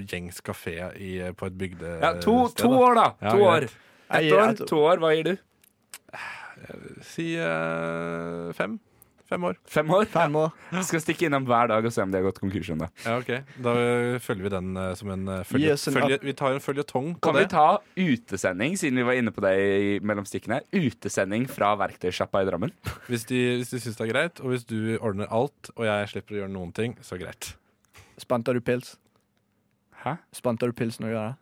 gjengs kafé i, eh, på et bygde... Ja, to, sted, to da. år, da. Ja, To år. greit. Jeg Ett gir år, ett år. to år. Hva gir du? Si eh, fem. Fem år. Fem år? Fem år. Jeg skal stikke innom hver dag og se om de har gått konkurs ennå. Ja, ok. Da eh, følger vi den eh, som en eh, Gi følge... oss en følge vi tar en føljetong på Kan vi det. ta utesending, siden vi var inne på det i mellomstikkene? Utesending fra verktøysjappa i Drammen. Hvis de, hvis de syns det er greit, og hvis du ordner alt, og jeg slipper å gjøre noen ting, så greit. Spanta du pils? Hæ? Spanta du pils når du gjør det?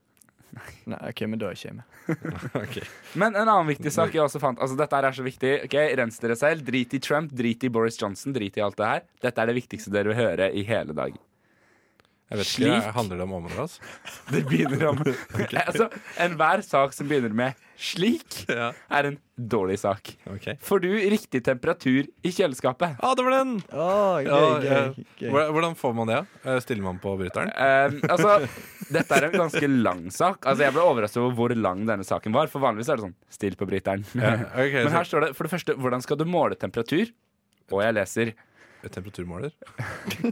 Nei, ok, men da er jeg ikke jeg med. Ok. Men en annen viktig sak jeg også fant Altså, dette her er så viktig. Ok, Rens dere selv. Drit i Trump, drit i Boris Johnson, drit i alt det her. Dette er det viktigste dere vil høre i hele dag. Jeg vet Slik? ikke, Handler det om området? Altså? Det begynner om Altså, enhver sak som begynner med 'slik', Ja. er en dårlig sak. Ok. Får du riktig temperatur i kjøleskapet? Ah, det var den! Å, Ja, gøy, eh, gøy, gøy. hvordan- Hvordan får man det? Eh, Stiller man på bryteren? Ehm, altså, dette er en ganske lang sak. Altså, Jeg ble overrasket over hvor lang denne saken var. For vanligvis er det sånn 'still på bryteren'. Ok, Men her så står det for det første 'hvordan skal du måle temperatur'? Og jeg leser Temperaturmåler?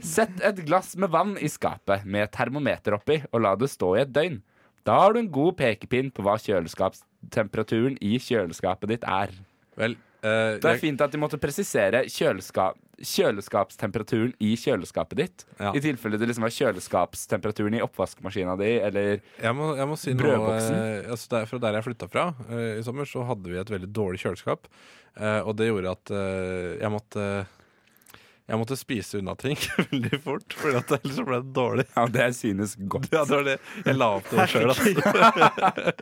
Sett et glass med vann i skapet med et termometer oppi, og la det stå i et døgn. Da har du en god pekepinn på hva kjøleskapstemperaturen i kjøleskapet ditt er. Vel, eh, Det er jeg- fint at de måtte presisere kjøleskap, kjøleskapstemperaturen i kjøleskapet ditt. Ja. I tilfelle det liksom var kjøleskapstemperaturen i oppvaskmaskina di, eller Jeg må, jeg må si noe Brødboksen? eh, altså der, Fra der jeg flytta fra eh, i sommer, så hadde vi et veldig dårlig kjøleskap. Eh, og det gjorde at eh, jeg måtte Jeg måtte spise unna ting veldig fort, for ellers så ble det dårlig. Ja, det synes godt. Ja, det var det. Jeg la opp til det sjøl, altså.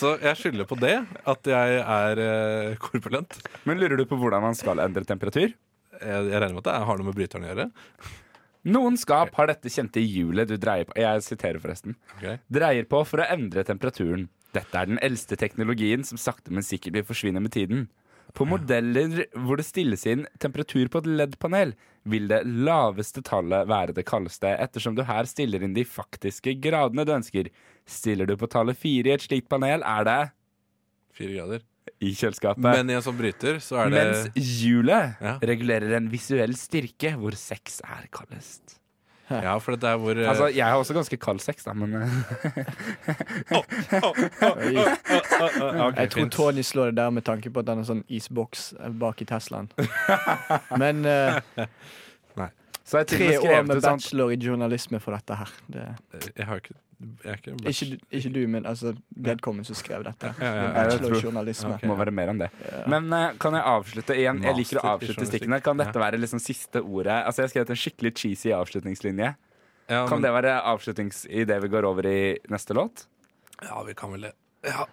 Så jeg skylder på det, at jeg er eh, korpulent. Men lurer du på hvordan man skal endre temperatur? Jeg, jeg regner med at det har noe med bryteren å gjøre. Noen skap har dette kjente hjulet du dreier på Jeg siterer forresten. Ok. dreier på for å endre temperaturen. Dette er den eldste teknologien som sakte, men sikkert vil forsvinne med tiden. På modeller hvor det stilles inn temperatur på et LED-panel, vil det laveste tallet være det kaldeste, ettersom du her stiller inn de faktiske gradene du ønsker. Stiller du på tallet fire i et slikt panel, er det Fire grader. i kjøleskapet. Men i en sånn bryter, så er det Mens hjulet Ja. regulerer en visuell styrke hvor sex er kaldest. Ja, for det er hvor eh, Altså, jeg har også ganske kald sex, da, men eh, ok, Jeg tror fint. Tony slår det der med tanke på at han har sånn isboks eh, bak i Teslaen. Men eh, Så jeg tre år med sånn bachelor i journalisme for dette her. Det, Jeg har ikke Jeg er ikke en ikke, du- ikke du, men altså vedkommende som skrev dette. Ja, ja, ja. jeg Bachelor tror- i journalisme. Må være mer enn det. Men eh, kan jeg avslutte igjen? Jeg liker å Master i avslutte journalistikk. stikkene. Kan dette være liksom siste ordet? Altså, jeg har skrevet en skikkelig cheesy avslutningslinje. Ja, Kan men- det være avslutnings i det vi går over i neste låt? Ja, vi kan vel det. Ja.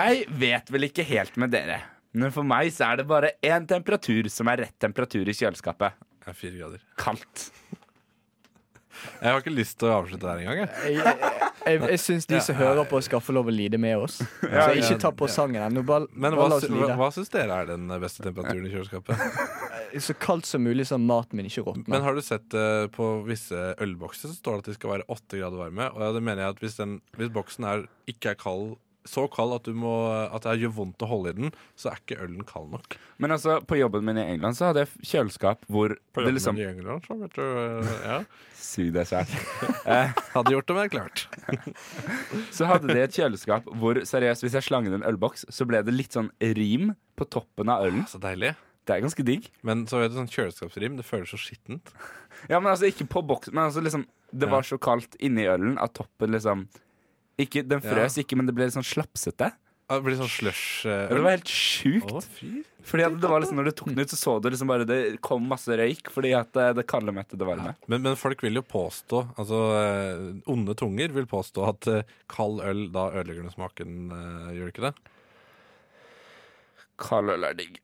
Jeg vet vel ikke helt med dere, men for meg så er det bare én temperatur som er rett temperatur i kjøleskapet. Det er fire grader. Kaldt. Jeg har ikke lyst til å avslutte der engang. Eh, jeg. Jeg, jeg, jeg, jeg syns de som hører på, skal få lov å lide med oss. Så ikke ta på sangen ennå. Bare, Men bare hva, la sy- oss hva, lide. hva syns dere er den beste temperaturen i kjøleskapet? Så kaldt som mulig, sånn maten min ikke Men råtner. har du sett eh, på visse ølbokser så står det at de skal være åtte grader varme. Og det mener jeg at hvis, den, hvis boksen er, ikke er kald så kald at, du må, at det gjør vondt å holde i den, så er ikke ølen kald nok. Men altså, på jobben min i England så hadde jeg f- kjøleskap hvor På det jobben liksom i England, så vet du, eh, ja. Sug deg selv. Hadde gjort det, men klart. Så hadde de et kjøleskap hvor seriøst, hvis jeg slang inn en ølboks, så ble det litt sånn rim på toppen av ølen. Så deilig. Det er ganske digg. Men så vet du, sånn kjøleskapsrim, det føles så skittent. Ja, men altså ikke på boksen, men altså liksom Det Ja. var så kaldt inni ølen at toppen liksom ikke, Den frøs ikke, men det ble litt sånn slapsete. Det blir sånn slush. eh, Og det øl. var helt sjukt. Å, fy. Fordi at det var liksom, Når du tok den ut, så så du liksom bare det kom masse røyk fordi at eh, det kalde mette det varme. Men, men folk vil jo påstå, altså eh, onde tunger vil påstå at eh, kald øl, da ødelegger den smaken, eh, gjør det ikke det? Kald øl er digg.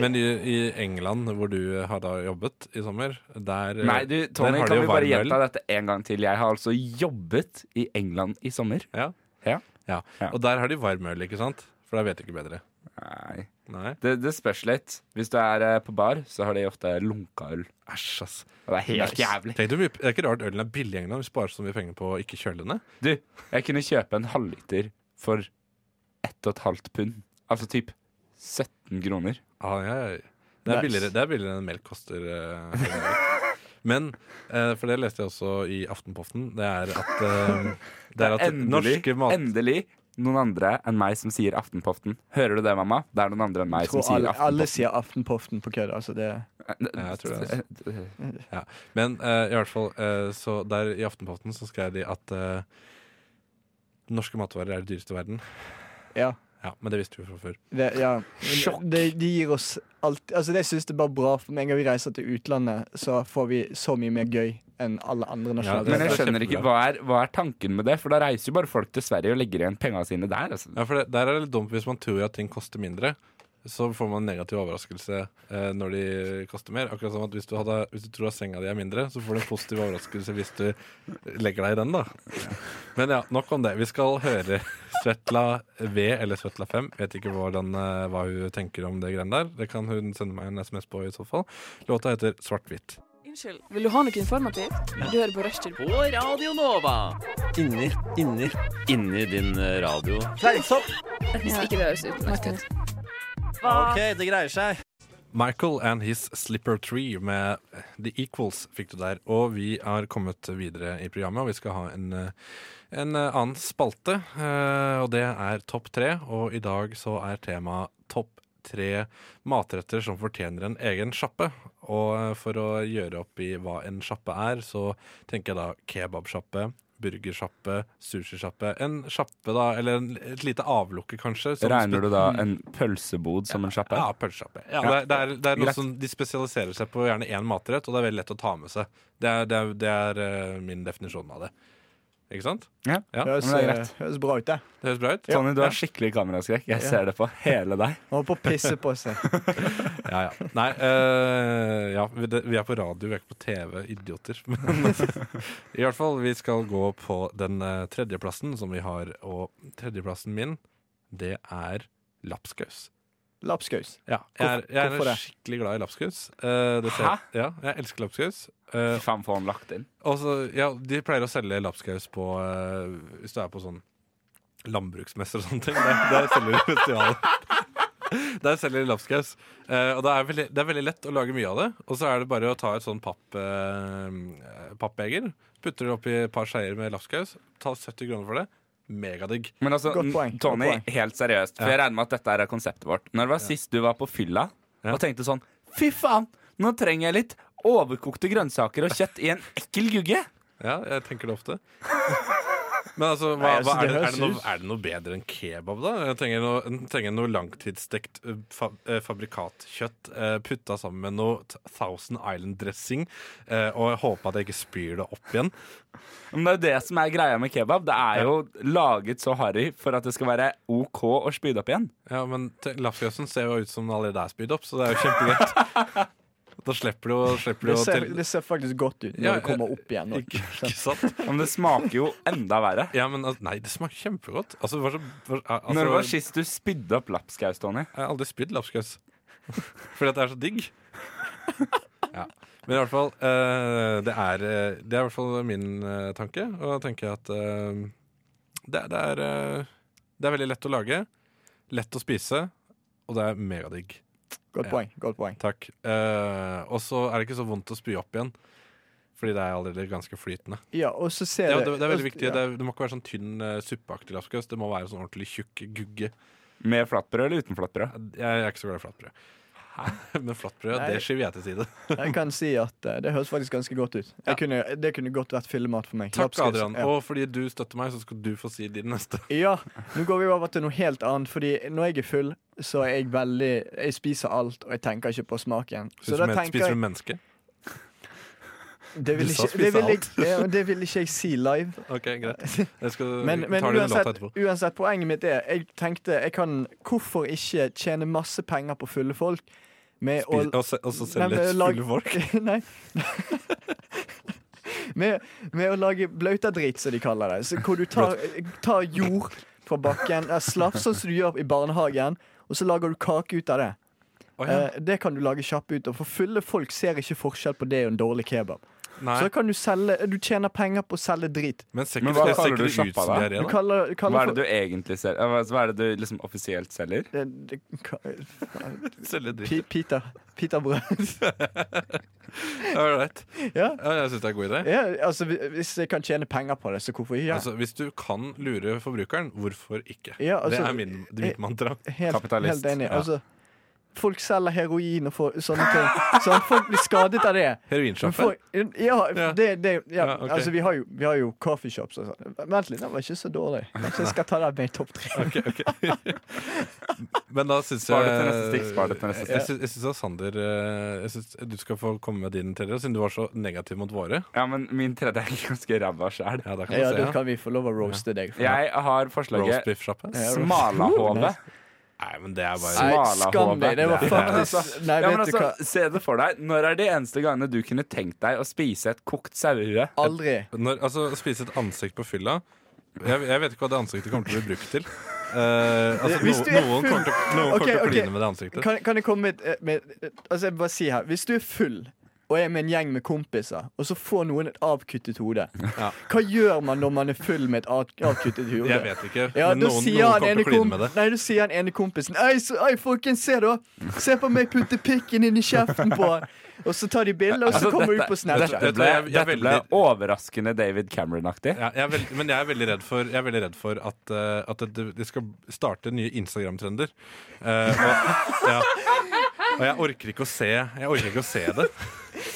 Men i, i England, hvor du har da jobbet i sommer, der eh, Nei, du, der Tony, har de kan jo vi bare varm øl. gjenta dette en gang til? Jeg har altså jobbet i England i sommer. Ja. Ja. Ja. Ja. Og der har de varm øl, ikke sant? For der vet de ikke bedre. Nei, Nei. Det, det spørs litt. Hvis du er eh, på bar, så har de ofte lunka øl. Æsj, ass. Og det er helt jævlig. Tenk du, mye- det er ikke rart ølen er billig i England. Vi sparer så mye penger på å ikke kjøle den ned. Du, jeg kunne kjøpe en halvliter for ett og et halvt pund. Altså typ 17 kroner. Ah, ja, ja. Det, er Nice. billigere, det er billigere enn melk koster. eh, Men, eh, for det leste jeg også i Aftenpoften, det er at, eh, det er at Endelig, norske mat... endelig noen andre enn meg som sier Aftenpoften. Hører du det, mamma? Det er noen andre enn meg Jeg tror som sier alle, alle Aftenpoften. sier Aftenpoften på kødd. Altså det Ja, jeg tror det, Ja. Men eh, i hvert fall, eh, så der i Aftenpoften så skrev de at eh, norske matvarer er det dyreste i verden. Ja. Ja, men det visste vi fra før. Det, ja. Men Sjokk. Det, det gir oss alt Altså det synes det er bare bra For med en gang vi reiser til utlandet Så får vi så mye mer gøy Enn alle andre Ja, nasjonaler Men jeg Det er skjønner ikke, kjempebra. hva er, hva er tanken med det? For da reiser jo bare folk til Sverige og legger igjen penga sine der. Altså. Ja, for det, Der er det litt dumt hvis man tror at ting koster mindre. Så får man en negativ overraskelse eh, når de koster mer. Akkurat som at hvis du, hadde, hvis du tror at senga di er mindre, så får du en positiv overraskelse hvis du legger deg i den. da Men ja, nok om det. Vi skal høre Svetla V eller Svetla 5. Vet ikke hvordan, eh, hva hun tenker om det greiene der. Det kan hun sende meg en SMS på i så fall. Låta heter Svart-hvitt. Unnskyld, vil du ha noe informativt? Du hører på Rushtid. På Radio Nova. Inni, inni, inni din eh, radio. Fleinsopp! Hvis ikke det høres ut. Martin. Ok, det greier seg. Michael and His Slipper Tree med The Equals fikk du der. Og vi er kommet videre i programmet, og vi skal ha en, eh, en eh, annen spalte. eh, Og det er Topp tre, og i dag så er temaet Topp tre matretter som fortjener en egen sjappe. Og eh, for å gjøre opp i hva en sjappe er, så tenker jeg da kebabsjappe. Burgersjappe, sushisjappe. En sjappe, da, eller en, et lite avlukke, kanskje. som Regner du da en pølsebod som en sjappe? ja, pølsesjappe. Ja, det, er- det er, det er noe Greit. som De spesialiserer seg på gjerne én matrett, og det er veldig lett å ta med seg. Det er, det er, det er eh, min definisjon av det. Ikke sant? Ja. Ja, høres, men det er greit. eh, høres bra ut det Det høres bra ut? Tony, du har skikkelig kameraskrekk. Jeg ser det på hele deg. Man holder på å pisse på seg Ja, ja. Nei, eh, ja, vi, det, vi er på radio, vi er ikke på TV. Idioter. Men i hvert fall, vi skal gå på den eh, tredjeplassen som vi har, og tredjeplassen min, det er lapskaus. Lapskaus Ja, jeg er, jeg Hvorfor er det? skikkelig glad i lapskaus. Eh, det ser, Hæ? Ja, jeg elsker lapskaus. Eh, Fy faen, får han lagt inn? Og så- Altså, ja, de pleier å selge lapskaus på eh, Hvis du er på sånn landbruksmesse og sånne ting. Der, der selger de festivaler. Der selger de lapskaus. Eh, og det er, veldig, det er veldig lett å lage mye av det. Og så er det bare å ta et sånn papp, eh, pappbeger, putter det oppi et par skeier med lapskaus, ta 70 kroner for det. Megadigg. Men altså, Godt poeng, godt Tony, poeng. helt seriøst, for jeg regner med at dette er konseptet vårt. Når det var sist du var på fylla Ja. og tenkte sånn Fy faen, nå trenger jeg litt overkokte grønnsaker og kjøtt i en ekkel gugge. Ja, jeg tenker det ofte. Men altså, hva, Nei, altså, hva er, det, det er, høres det noe, ut. er det noe bedre enn kebab, da? Jeg trenger noe, jeg trenger noe langtidsstekt eh, fa, eh, fabrikatkjøtt eh, putta sammen med noe t- Thousand Island-dressing, eh, og jeg håper at jeg ikke spyr det opp igjen. Men det er jo det som er greia med kebab. Det er jo laget så harry for at det skal være OK å spyde opp igjen. Ja, Men te- lapskausen ser jo ut som den allerede er spydd opp, så det er jo kjempegreit. Da slipper du å slipper du Det å ser, telle- det ser faktisk godt ut når Ja, det kommer opp igjen. nå. Ikke, ikke sant? Men det smaker jo enda verre. Ja, men al- Nei, det smaker kjempegodt. Altså, hva så, hva- altså, Når var sist du spydde opp lapskaus, Tony? Jeg har aldri spydd lapskaus. Fordi at det er så digg. Ja. Men i hvert fall eh, det, er, eh, det er i hvert fall min eh, tanke. Og da tenker jeg at eh, det, det, er, eh, det er veldig lett å lage, lett å spise, og det er megadigg. Godt Ja. poeng. godt poeng Takk. Eh, og så er det ikke så vondt å spy opp igjen, fordi det er allerede ganske flytende. Ja, og så ser Ja, det, det er veldig og- viktig. ja. Det, er, det må ikke være sånn tynn eh, suppeaktig lapskaus. Det må være sånn ordentlig tjukk gugge. Med flatbrød eller uten flatbrød? Jeg er ikke så glad i flatbrød. Men flatbrød, Nei. det skyver jeg til side. Jeg kan si at eh, det høres faktisk ganske godt ut. Jeg kunne, det kunne godt vært fyllemat for meg. Takk, Lapskaus, Adrian. ja. Og fordi du støtter meg, så skal du få si din neste. Ja, nå går vi over til noe helt annet, fordi når jeg er full, så er jeg veldig Jeg spiser alt, og jeg tenker ikke på smaken. Så Spiser, da men, tenker spiser jeg du menneske? Det vil du sa ikke, det spise vil jeg, ja, men det vil ikke jeg si live. Ok, greit. Jeg skal Men, men ta din låt uansett, etterpå. uansett, poenget mitt er Jeg tenkte jeg kan Hvorfor ikke tjene masse penger på fulle folk med å Spis- Og, se- og så Nei, selge men litt lag- fulle folk. Nei. med, med å lage blautadrit, som de kaller det. Så hvor du tar, tar jord fra bakken, eh, slapp, sånn som du gjør i barnehagen, og så lager du kake ut av det. Å, ja. Eh, Det kan du lage kjapt ut av, for fulle folk ser ikke forskjell på det og en dårlig kebab. Nei, Så kan du selge Du tjener penger på å selge drit. men ser Men ikke hva det- ser kaller ikke du det ut sjappa, som da? diaré, Du da? kaller, Hva kaller er det du egentlig selger? Eh, hva- Hva er det du liksom offisielt selger? for Eh, det, det, ka- Selge dritt. pi- Pita. Pitabrød. All right. ja. Ja, jeg syns det er en god idé. ja, altså hvi- hvis jeg kan tjene penger på det, så hvorfor ikke? Altså, hvis du kan lure forbrukeren, hvorfor ikke? Ja, altså- det er min, det er mitt mantra. Helt, Kapitalist. Helt enig. Ja. Altså, folk selger heroin og får sånne ting. Sånn, folk blir skadet av det. Men Heroinsjapper. folk- ja, Ja. det, det, ja. Ja, ok. altså vi har jo, vi har jo coffeeshops og sånn. Vent litt, den var ikke så dårlig. Kanskje jeg skal ta den med i topp tre. Men da syns jeg Spar det til neste stikk, spar det til neste stikk. Jeg syns- Jeg syns at Sander eh, jeg synes Du skal få komme med din tredje, siden du var så negativ mot våre. Ja, men min tredje er ganske ræva sjæl. Ja, da kan Ja, du se. da Ja. kan vi få lov å roaste deg. for Jeg har Roast forslaget beef-sjappe. Ja. smalahove. Nei, men det er bare Nei, Smalahove. skam deg. Det var Nei, faktisk Nei, ja, men vet du hva. altså, se det for deg. Når er de eneste gangene du kunne tenkt deg å spise et kokt sauehue? Aldri. Når, altså, å spise et ansikt på fylla jeg, jeg vet ikke hva det ansiktet kommer til å bli brukt til. Eh, altså, Hvis no, du er noen kommer til, noen Ok, kommer til å ok. kline med det ansiktet. Kan, kan jeg komme med, et- med Altså, jeg vil bare si her. Hvis du er full og er med en gjeng med kompiser, og så får noen et avkuttet hode, Ja. hva gjør man når man er full med et av- avkuttet hode? Jeg vet ikke, Ja, men da noen, sier noen han kommer ene til å kline kom med det. Nei, du sier han ene kompisen Ei, så, ei folkens, se da! Se på meg putte pikken inn i kjeften på han! Og så tar de bilder, og så Altså, kommer de ut på dette, Snapchat. dette, Vet du ble, hva, jeg- jeg er dette ble veldig- overraskende David Cameron-aktig. Ja, jeg er veld, men jeg er veldig redd for, jeg er veldig redd for at, eh, at det, det skal starte nye Instagram-trender. Eh, og, ja. og jeg orker ikke å se Jeg orker ikke å se det,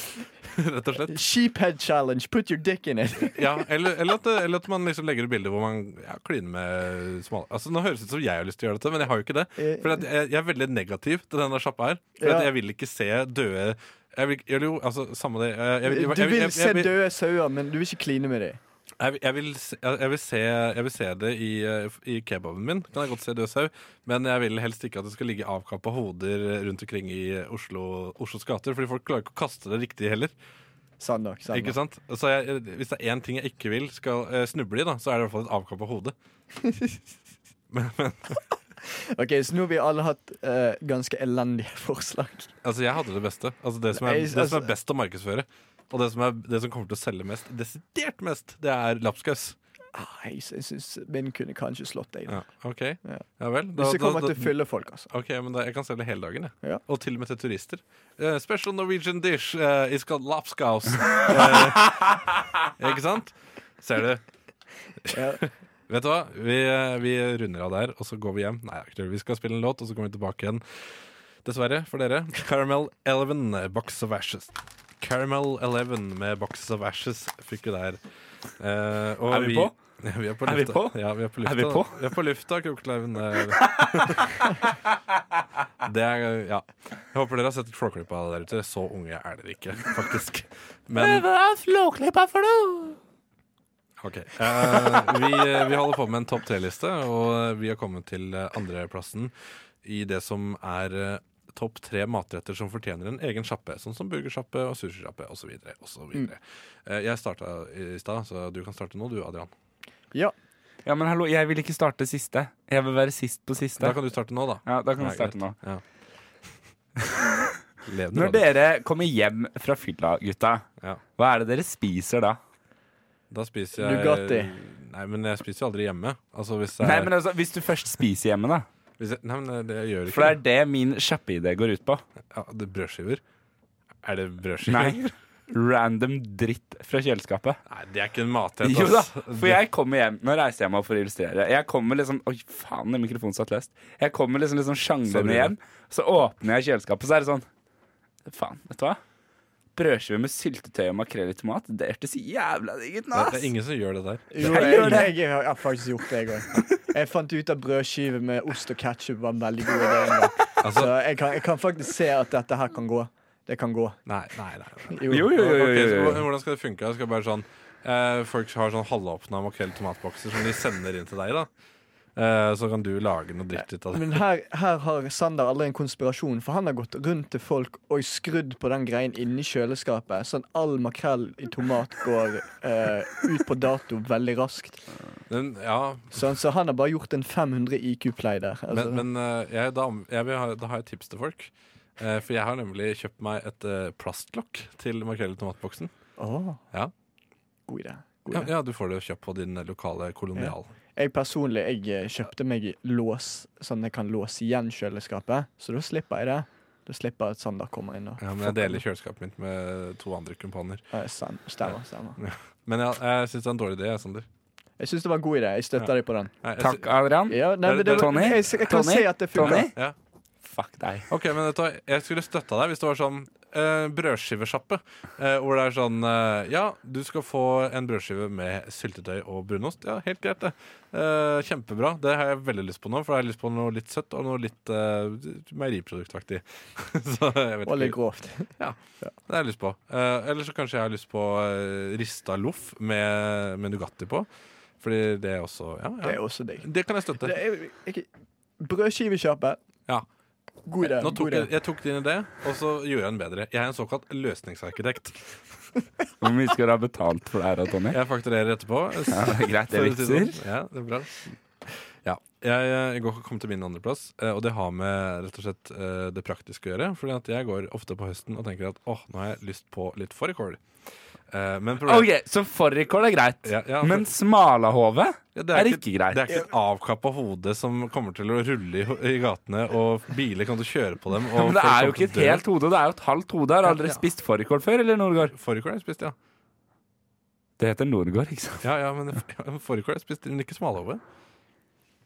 rett og slett. Sheephead challenge, put your dick in it. Ja, eller, eller, at, det- eller at man liksom legger ut bilder hvor man ja, kliner med smal... Altså, nå høres det ut som jeg har lyst til å gjøre dette, men jeg har jo ikke det. For at jeg, jeg er veldig negativ til denne sjappa her. For Eh, Ja. at jeg vil ikke se døde jeg vil, eller jo, altså, samme det. Jeg, jeg, jeg, Du jeg, vil jeg, se jeg, jeg, døde sauer, men du vil ikke kline med dem. jeg, jeg, vil, se- jeg, vil se, jeg vil se det i, eh, i kebaben min. Kan jeg godt se død sau. Men jeg vil helst ikke at det skal ligge avkappa hoder rundt omkring i Oslo, Oslos gater. Fordi folk klarer ikke å kaste det riktig heller. Sann nok. sant Ikke nok. sant? Så jeg, hvis det er én ting jeg ikke vil skal eh, snuble i, da, så er det i hvert fall et avkappa hode. Ok, Så nå har vi alle hatt eh, ganske elendige forslag. Altså, jeg hadde det beste. Altså, det, som er, Nei, det som altså- er best å markedsføre, og det som, er, det som kommer til å selge mest, desidert mest, det er lapskaus. Ah, jeg sy- jeg syns min kunne kanskje slått deg. da. Ja, OK. Ja, vel. Da, Hvis da, det kommer da, til å fylle folk, altså. OK, men da, jeg kan selge hele dagen, jeg. Ja. Og til og med til turister. Eh, special Norwegian dish eh, is called lapskaus. Eh, ikke sant? Ser du? Ja. Vet du hva? Vi, eh, vi runder av der, og så går vi hjem. Nei, det er ikke det. vi skal spille en låt, og så kommer vi tilbake igjen. Dessverre for dere. Caramel Eleven, eh, Box of Ashes. Caramel Eleven med Box of Ashes fikk vi der. Eh, og Er vi på? Ja, vi er på Er vi lufta. på? Ja, vi er på lufta. vi på? Vi er på lufta, Krokeleiven. Det er, ja. Jeg håper dere har sett flåklippa der ute. Så unge er dere ikke, faktisk. Men Ok. Eh, vi, vi holder på med en topp tre-liste, og vi har kommet til eh, andreplassen i det som er eh, topp tre matretter som fortjener en egen sjappe, sånn som burgersjappe og sushisjappe osv. videre Eh, Jeg starta i stad, så du kan starte nå, du, Adrian. Ja. Ja, men hallo, jeg vil ikke starte siste. Jeg vil være sist på siste. Da kan du starte nå, da. Ja, da kan Ja, vi starte nå. greit. Ja. Levende Når radio. dere kommer hjem fra fylla, gutta, Ja. hva er det dere spiser da? Da spiser jeg Nugatti. Nei, men jeg spiser jo aldri hjemme. Altså, hvis jeg, Nei, men altså, Hvis du først spiser hjemme, da. hvis jeg, nei, men det jeg gjør For det ikke er det min kjappe idé går ut på. Ja, det er brødskiver. Er det brødskiver? Nei. Random dritt fra kjøleskapet. Nei, det er ikke en matrett. Jo da, ass. for jeg kommer hjem Nå reiser jeg meg opp for å illustrere. Jeg kommer liksom Oi, faen, den mikrofonen satt løst. Jeg kommer liksom liksom Sorry. sjanglende hjem, så åpner jeg kjøleskapet, så er det sånn Faen, vet du hva? Brødskive med syltetøy og makrell i tomat, det hørtes jævla digg ut nå, Det, det ass! er ingen som gjør det der. Jo, Jeg jeg, gjør det. jeg, har- jeg har faktisk gjort det, jeg òg. Jeg fant ut at brødskive med ost og ketsjup var en veldig god idé. en gang. Altså, Så jeg kan, jeg kan faktisk se at dette her kan gå. Det kan gå. nei, nei, nei. nei. Jo. Jo, jo, jo, jo, Ok, jo, så jo. hvordan- hvordan skal det funke? Jeg skal bare sånn eh, Folk har sånn halvåpna makrell i tomatbokser som de sender inn til deg, da. Eh, så kan du lage noe dritt ut av det. Men her, her har Sander aldri en konspirasjon, for han har gått rundt til folk og skrudd på den greien inni kjøleskapet, sånn all makrell i tomat går eh, ut på dato veldig raskt. Men, ja, Sånn, så han har bare gjort en 500 IQ-play der. Altså. men, men eh, jeg, da, jeg vil ha, da har jeg et tips til folk. Eh, for jeg har nemlig kjøpt meg et eh, plastlokk til makrell i tomatboksen. Åh. Ja. God idé. God Ja, idé. ja, du får det kjøpt på din eh, lokale kolonial. Jeg personlig jeg eh, kjøpte meg lås, sånn jeg kan låse igjen kjøleskapet. Så da slipper jeg det. Da slipper jeg at Sander kommer inn. Og Ja, men jeg deler kjøleskapet mitt med to andre kumpaner. Eh, stem- Stemmer. stemmer. Men jeg, jeg syns det er en dårlig idé, jeg, Sander. Jeg syns det var en god idé. Jeg støtter deg på den. Nei, jeg Takk, sy- Adrian. Ja, nei, men det, var- Tony? Jeg, jeg kan Tony? se at det funker. Tony? Ja. Fuck deg. Ok, men vet du hva, Jeg skulle støtta deg hvis det var sånn eh, brødskivesjappe. Eh, hvor det er sånn eh, Ja, du skal få en brødskive med syltetøy og brunost. Ja, helt greit, det. Eh, kjempebra. Det har jeg veldig lyst på nå, for jeg har lyst på noe litt søtt og noe litt eh, meieriproduktaktig. Så jeg vet Og litt ikke. grovt. Det har jeg lyst på. Eh, eller så kanskje jeg har lyst på eh, rista loff med, med Nugatti på. Fordi det er også Ja, Det er ja. også digg. Det kan jeg støtte. Det er- jeg- Brødskivekjappe. Ja. God idé. Nå god tok jeg, idé. jeg tok din idé, og så gjorde jeg en bedre. Jeg er en såkalt løsningsarkitekt. Hvor mye skal du ha betalt for det her, da, Tony? Jeg fakturerer etterpå. Ja, det er greit, det For er å si det vitser. sånn. Ja, det er bra. Ja, jeg, jeg går kom til min andreplass, eh, og det har med rett og slett eh, det praktiske å gjøre. Fordi at jeg går ofte på høsten og tenker at åh, nå har jeg lyst på litt fårikål. Eh, Men problemet OK, så fårikål er greit. Ja, ja, for- Men smalahove Ja, er ikke greit. Det er ikke et avkappa hode som kommer til å rulle i, i gatene, og biler kommer til å kjøre på dem. Og Men det folk er jo kommer ikke til å et dø. helt hode, det er jo et halvt hode. Har Ja, aldri ja. spist fårikål før, eller Nordgård? Fårikål har jeg spist, ja. Det heter Nordgård, ikke sant? Ja, ja, men ja, fårikål har jeg spist, men ikke smalahove.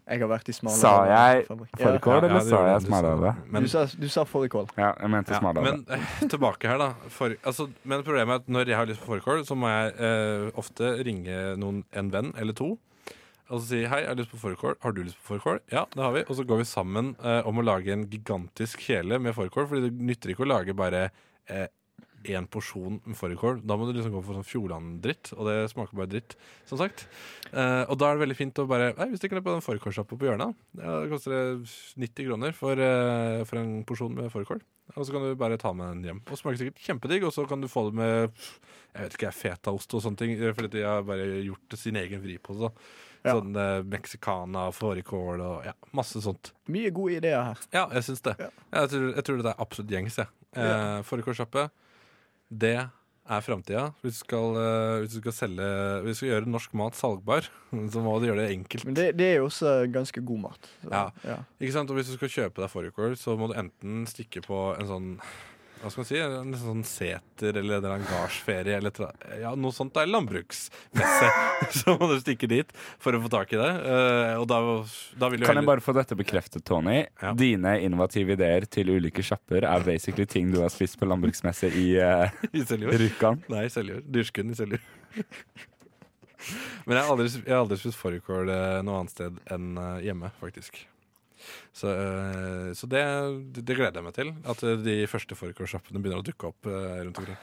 Jeg har vært i smale Sa jeg Ja. fårikål, Ja, ja, eller det sa gjorde jeg du. smalahove? Men- Du sa, du sa fårikål. Ja, jeg mente Ja, smalahove. men eh, tilbake her, da. For, altså, men problemet er at når jeg har lyst på fårikål, så må jeg eh, ofte ringe noen, en venn eller to. Og så si hei, jeg har lyst på fårikål. Har du lyst på fårikål? Ja, det har vi. Og så går vi sammen eh, om å lage en gigantisk kjele med fårikål, Fordi det nytter ikke å lage bare eh, én porsjon med fårikål. Da må du liksom gå for sånn Fjordland-dritt, og det smaker bare dritt, som sagt. Eh, og da er det veldig fint å bare Nei, vi stikker ned på den fårikålsjappa på hjørnet. Ja, det koster eh, 90 kroner for, eh, for en porsjon med fårikål. Og så kan du bare ta med den hjem. Og smaker sikkert kjempedigg, og så kan du få det med jeg vet ikke, fetaost og sånne ting. eh, Fordi de har bare gjort sin egen vripose. da. Ja. Sånn eh, mexicana, fårikål og ja, masse sånt. Mye gode ideer her. Ja, jeg syns det. Ja. Jeg, tror, jeg tror det er absolutt gjengs, jeg. Eh, Fårikålsjappe, det er framtida. Hvis, du skal, eh, hvis du skal selge Hvis du skal gjøre norsk mat salgbar, så må du gjøre det enkelt. Men det, det er jo også ganske god mat. Så, Ja. Ikke sant? Og hvis du skal kjøpe deg fårikål, så må du enten stikke på en sånn hva skal man si, en sånn seter eller en eller annen gardsferie eller tra ja, noe sånt. Det er landbruksmesse. så må du stikke dit for å få tak i det. Eh, og da, da vil du Kan jeg heller bare få dette bekreftet, Tony? Ja. Dine innovative ideer til ulike sjapper er basically ting du har spist på landbruksmesse i uh, i Seljord. Rjukan. Nei, i Seljord. Dyrskuen i Seljord. Men jeg har aldri, jeg har aldri spist fårikål eh, noe annet sted enn eh, hjemme, faktisk. Så, eh, så det, det gleder jeg meg til. At eh, de første fårikålsjappene begynner å dukke opp eh, rundt omkring.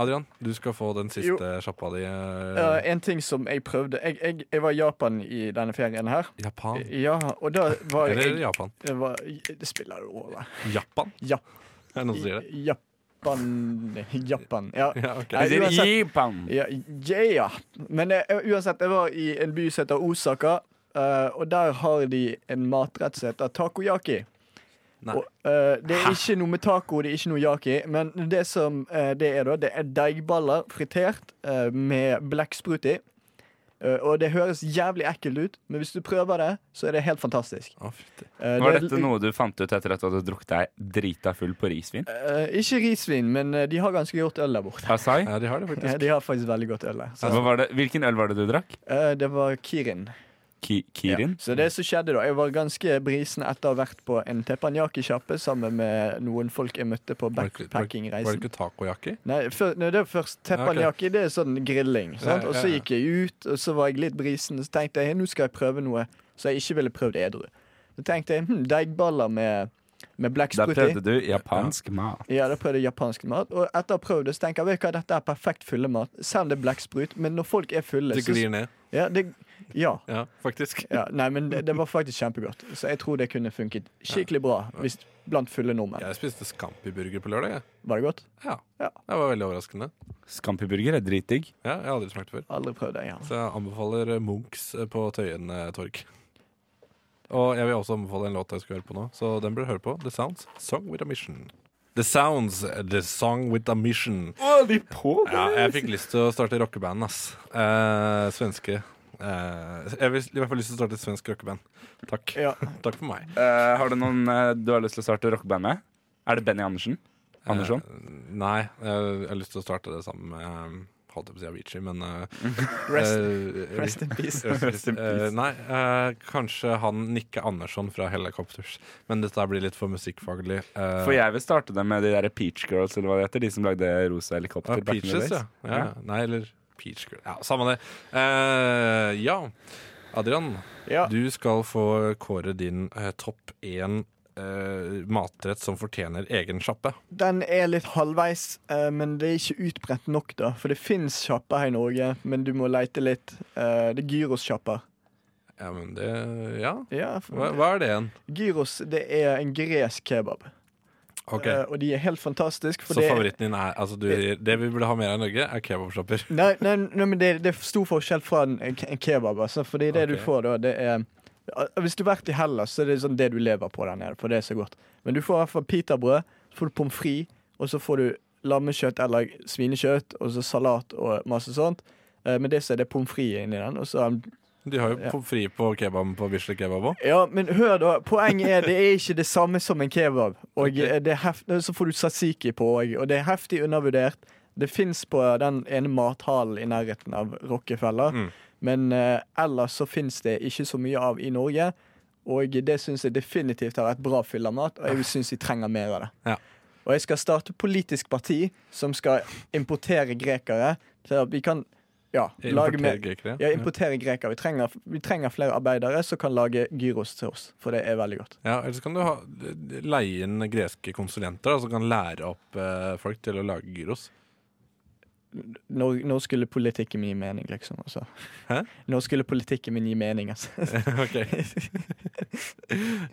Adrian, du skal få den siste Jo. sjappa di. eh, Eh, en ting som jeg prøvde jeg, jeg, jeg var i Japan i denne ferien her. Japan. Ja, og da var Eller jeg Japan. det, var, det spiller jo over. Japan, Jap, er det noen som sier det? Japan Japan. Ja. Ja, ok. Nei, Sier uansett- Japan. Ja, yeah. Men eh, uansett, jeg var i en by som heter Osaka, eh, og der har de en matrett som heter takoyaki. Nei. Og, eh, det er ikke noe med taco, det er ikke noe yaki, men det som eh, det er, da, det er deigballer fritert eh, med blekksprut i. Eh, og det høres jævlig ekkelt ut, men hvis du prøver det, så er det helt fantastisk. Å, fytti. Eh, Var det er- dette noe du fant ut etter at du hadde drukket deg drita full på risvin? Eh, ikke risvin, men eh, de har ganske godt øl der borte. Asai? Ja, de har det Eh, faktisk. de har faktisk veldig godt øl der. Så, Hva var det? Hvilken øl var det du drakk? eh, det var Kirin. Ki Kirin? Ja. Så det som skjedde da, jeg var ganske brisen etter å ha vært på en teppanyaki-kjappe sammen med noen folk jeg møtte på Var det ikke- var det- Var det backpacking-reisen. ikke takoyaki? Nei, før, nei, det er først teppanyaki, det er sånn grilling. Sant? Ja, Og så ja, ja. gikk jeg ut, og så var jeg litt brisen, og så tenkte jeg nå skal jeg prøve noe som jeg ikke ville prøvd edru. Så tenkte jeg hm, deigballer med, med Da blekksprut i. prøvde du japansk mat. Ja, da prøvde jeg japansk mat, og etter å ha prøvd det, så tenker jeg vet du hva, dette er perfekt fyllemat, selv om det er blekksprut, men når folk er fulle, Det glir ned. så ja, det, ja, Ja, faktisk. ja, nei, men det, det var faktisk kjempegodt. Så jeg tror det kunne funket skikkelig bra hvis, blant fulle nordmenn. Jeg spiste Scampi-burger på lørdag. jeg. Var det godt? Ja. Ja. Det var veldig overraskende. Scampi-burger er dritdigg. Ja, jeg har aldri smakt det før. Aldri prøvd det, ja. Så jeg anbefaler eh, Munchs eh, på Tøyen eh, torg. Og jeg vil også anbefale en låt jeg skal høre på nå, så den bør du høre på. The Sounds, Song with a Mission. The Sounds, The Song with a Mission. Ja, jeg fikk lyst til å starte rockeband, ass. Eh, svenske. Eh, jeg vil, i hvert fall lyst til å starte et svensk rockeband. Takk. Ja. Takk for meg. Eh, har du noen eh, du har lyst til å starte rockeband med? Er det Benny Andersen? Andersson? Eh, nei, jeg, jeg har lyst til å starte det sammen med eh, Holdt jeg på å si Avicii, men eh, Rest, eh, rest in peace. Rest in peace. Eh, nei, eh, kanskje han Nikke Andersson fra Helicopters. Men dette her blir litt for musikkfaglig. Eh, For jeg vil starte det med de der Peach Girls, eller hva det heter. De som lagde rosa helikopter. ah, back in the Peaches, ja. days. ja. Nei, eller Peach Girl. Ja, samme det. Eh, ja, Adrian. Ja. Du skal få kåre din eh, topp én eh, matrett som fortjener egen sjappe. Den er litt halvveis, eh, men det er ikke utbredt nok, da. For det fins sjapper her i Norge, men du må leite litt. Eh, det er gyros-sjapper. Ja, men det Ja. Ja, Hva, for- hva er det igjen? gyros det er en gresk kebab, Ok, Eh, og de er helt fantastiske. Så favoritten din er altså du, Det vi burde ha mer av i Norge, er kebabsjapper. Nei, nei, nei men det, det er stor forskjell fra en, en kebab. Altså, fordi det Ok. du får da, det er Hvis du har vært i Hellas, så er det sånn det du lever på der nede. For det er så godt. Men du får i hvert fall pitabrød, så får du pommes frites, og så får du lammekjøtt eller svinekjøtt, og så salat og masse sånt. Eh, Men det så er det pommes frites inni den. Og så, De har jo Ja. pommes frites på kebaben på Bislett Kebab òg. ja, men hør, da. Poenget er det er ikke det samme som en kebab. Og eh, det er heft, så får du tzatziki på òg, og det er heftig undervurdert. Det fins på den ene mathallen i nærheten av Rockefeller. Mm. Men eh, ellers så fins det ikke så mye av i Norge. Og det syns jeg definitivt har vært bra fyllemat, og jeg syns vi trenger mer av det. Ah. Ja. Og jeg skal starte politisk parti som skal importere grekere, så at vi kan ja, lage mer Grekere. ja, importere grekere. Vi trenger, vi trenger flere arbeidere som kan lage gyros til oss, for det er veldig godt. Ja, Eller så kan du ha, leie inn greske konsulenter da, som kan lære opp eh, folk til å lage gyros. Når, når skulle politikken min gi mening, liksom? Altså. Hæ? Når skulle politikken min gi mening, altså? ok.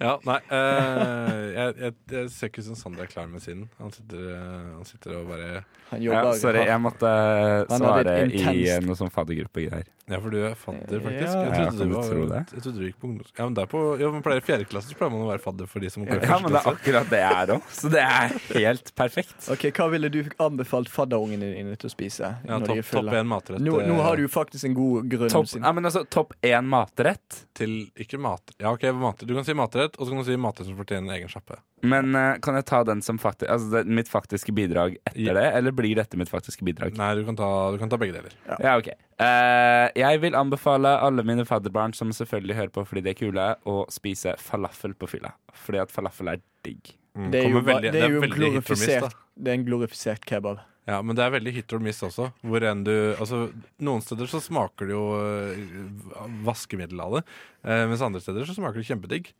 ja, nei eh, jeg, jeg, jeg ser ikke ut som Sander er klar med sin. Han sitter, eh, han sitter og bare Han Ja, jobber sorry, jeg hardt. måtte Han svare hadde et i intenst- eh, noe sånn faddergruppegreier. Ja, for du er fadder, faktisk. Ja. Jeg Ja, trodde kan du du var tro det? Jeg trodde du gikk på ungdoms... Ja, men det er på ja, men pleier i fjerde klasse så pleier man å være fadder for de som går i Ja, men første det er klasse. akkurat det jeg er òg, så det er helt perfekt. Ok, Hva ville du anbefalt fadderungene dine til å spise? Ja, når de topp, er topp fulle? en matrett Nå, eh, nå har du jo faktisk en god grunn. Topp siden- ja, men altså, topp én matrett. til Ikke mat... Ja, OK, matrett. Du kan si matrett, og så kan du si matrett som fortjener egen sjappe. Men eh, kan jeg ta den som fakti altså, det, mitt faktiske bidrag Ja. etter det, eller blir dette mitt faktiske bidrag? Nei, du kan ta, du kan ta begge deler. Ja, ok. Eh, jeg vil anbefale alle mine fadderbarn som selvfølgelig hører på fordi de er kule, å spise falafel på fylla. Fordi at falafel er digg. Mm, det er jo, kommer ba- veldig- det er jo en veldig hit or miss, da. glorifisert, det er en glorifisert kebab. Ja, men det er veldig hit or miss også. Hvor enn du, altså, noen steder så eh, smaker det jo øh, vaskemiddel av det, eh, mens andre steder så smaker det kjempedigg.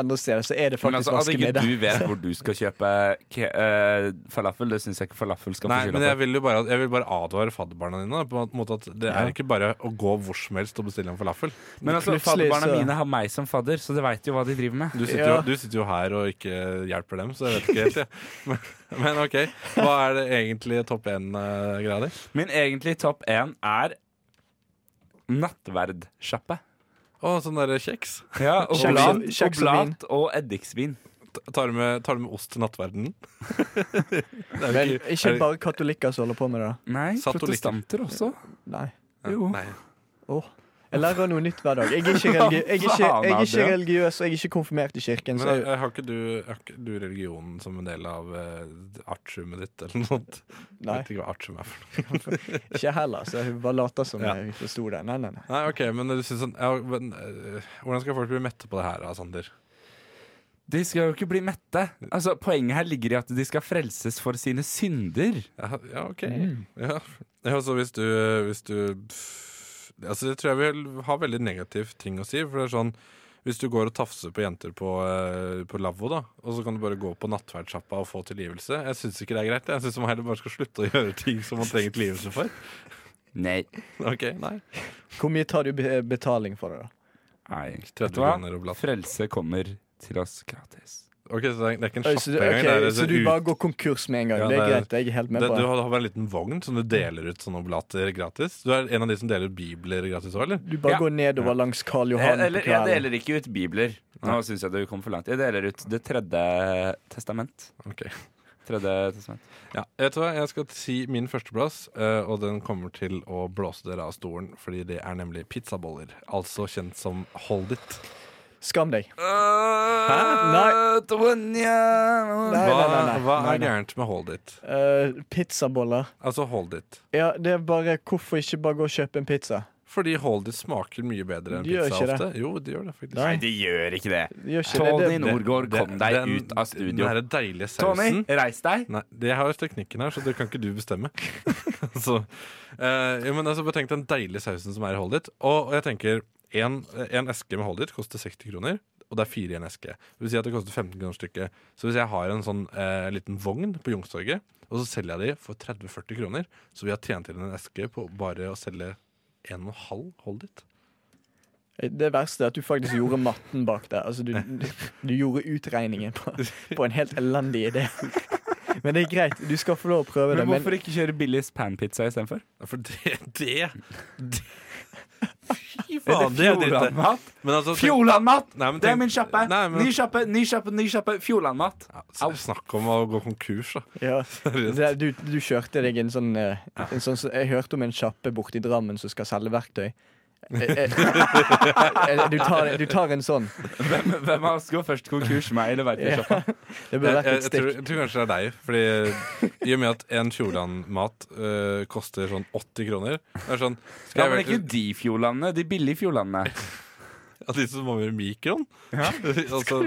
andre steder, så er det Men faktisk altså, At ikke vaskemiddag. du vet hvor du skal kjøpe ke eh, falafel, det syns jeg ikke falafel skal få Nei, men skylda jeg for. vil jo bare, jeg vil bare advare fadderbarna dine. da, På en måte at Det er ikke bare å gå hvor som helst og bestille en falafel. Men altså, Plutselig fadderbarna så- mine har meg som fadder, så de veit jo hva de driver med. Du sitter, Ja. jo, du sitter jo her og ikke hjelper dem, så jeg vet ikke helt. jeg. Men, men OK, hva er det egentlig topp én-greia di? Min egentlig topp én er nattverdsjappe. Å, sånn derre kjeks. Ja, Kjeks- oblat, kjeks og vin. oblat og eddiksvin. Ta- Tar du med, tar du med ost til nattverdenen? Det er jo Men er ikke det- bare katolikker som holder på med det. da. Nei, Satolikker. protestanter også. Nei. Jo. Nei. Åh. Jeg lærer noe nytt hver dag. Jeg er ikke, religi jeg er ikke, jeg er ikke Adrian? religiøs, og jeg er ikke konfirmert i Men kirken. eh, Så jeg, har ikke du, har ikke du religionen som en del av eh, artiumet ditt, eller noe sånt? Jeg nei, vet ikke hva artium er for noe. ikke jeg heller. Så jeg bare later som Ja. jeg forsto det. Nei, nei, nei. Nei, ok, men du synes sånn ja, men, eh, Hvordan skal folk bli mette på det her, da, Sander? De skal jo ikke bli mette. Altså, Poenget her ligger i at de skal frelses for sine synder. Ja, ja OK. Mm. Ja. ja, altså hvis du, hvis du pff, Altså det tror jeg vil ha veldig negativ ting å si, for det er sånn hvis du går og tafser på jenter på, eh, på lavvo, da, og så kan du bare gå på nattverdsjappa og få tilgivelse Jeg syns ikke det er greit. Jeg syns man heller bare skal slutte å gjøre ting som man trenger tilgivelse for. Nei. Ok, nei Hvor mye tar du be- betaling for det, da? Nei. 30 Vet du hva? kroner og blatt. Frelse kommer til oss gratis. Ok, Så det er, det er ikke en Oi, sjappe Så du, engang. ok, det er så en sånn du ut- bare går konkurs med en gang? Ja, det er det er- greit, jeg er helt med det, på du det. har har en liten vogn som du deler ut sånne oblater gratis. Du er en av de som deler ut bibler gratis òg, eller? Du bare Ja. går nedover langs Karl Jeg, Johan Eh, på eller, jeg kvelden. deler ikke ut bibler. Nå syns jeg du kom for langt. Jeg deler ut Det tredje testament. Ok. Tredje testament. Ja, vet du hva? Jeg skal si min førsteplass, eh, og den kommer til å blåse dere av stolen. Fordi det er nemlig pizzaboller, altså kjent som hold it. Skam deg. Hæ? Tonje! Nei, Hva, nei, nei, nei. hva Nei, er nei. gærent med hold it? Eh, pizzaboller. Altså hold it. Ja, det er bare Hvorfor ikke bare gå og kjøpe en pizza? Fordi hold it smaker mye bedre enn De gjør pizza ikke ofte. Jo, de gjør det faktisk. Nei. Nei, de gjør ikke det. Gjør ikke det. Tony det, det. Norgård, kom deg ut av Den studio. derre deilige Tony, sausen reis deg. Nei, det har jo teknikken her, så det kan ikke du bestemme. så, eh, jo, men altså, bare tenk den deilige sausen som er i Hold It. Og, og jeg tenker, en, en eske med Hold It koster 60 kroner, og det er fire i en eske. Det vil si at det koster 15 kroner stykket. Så hvis jeg har en sånn eh, liten vogn på Youngstorget, og så selger jeg de for 30-40 kroner, så vil jeg tjent inn en eske på bare å selge en og en halv Hold It. Eh, det verste er at du faktisk gjorde matten bak der. Altså, du, du gjorde utregningen på, på en helt elendig idé. Men det er greit. Du skal få lov å prøve Men det. hvorfor ikke kjøre Billies panpizza istedenfor? Ja, For det, det, det Fy faen, det er eh. jo dritt. det. Fjordlandmat! Men altså, tenk- Fjordlandmat! Nei, men Det er tenk- min kjappe! Nei, men- Ny kjappe, ny kjappe, ny kjappe. Fjordlandmat. Ja, så snakk om å gå konkurs, da. Ja, det, du, du kjørte deg en sånn, eh, en sånn Jeg hørte om en sjappe borti Drammen som skal selge verktøy. Eh, eh, eh, Du tar, du tar en sånn. Hvem, hvem av oss går først konkurs? Meg eller Ja. verktøykjappa? Det burde Jeg, vært jeg, et tror, stikk. jeg tror kanskje det er deg. Fordi I og med at en Fjordland-mat øh, koster sånn 80 kroner Det er sånn Ja, Skal men jeg ikke virkelig de fjordlandene. De billige fjordlandene. ha de som mangler mikroen? altså,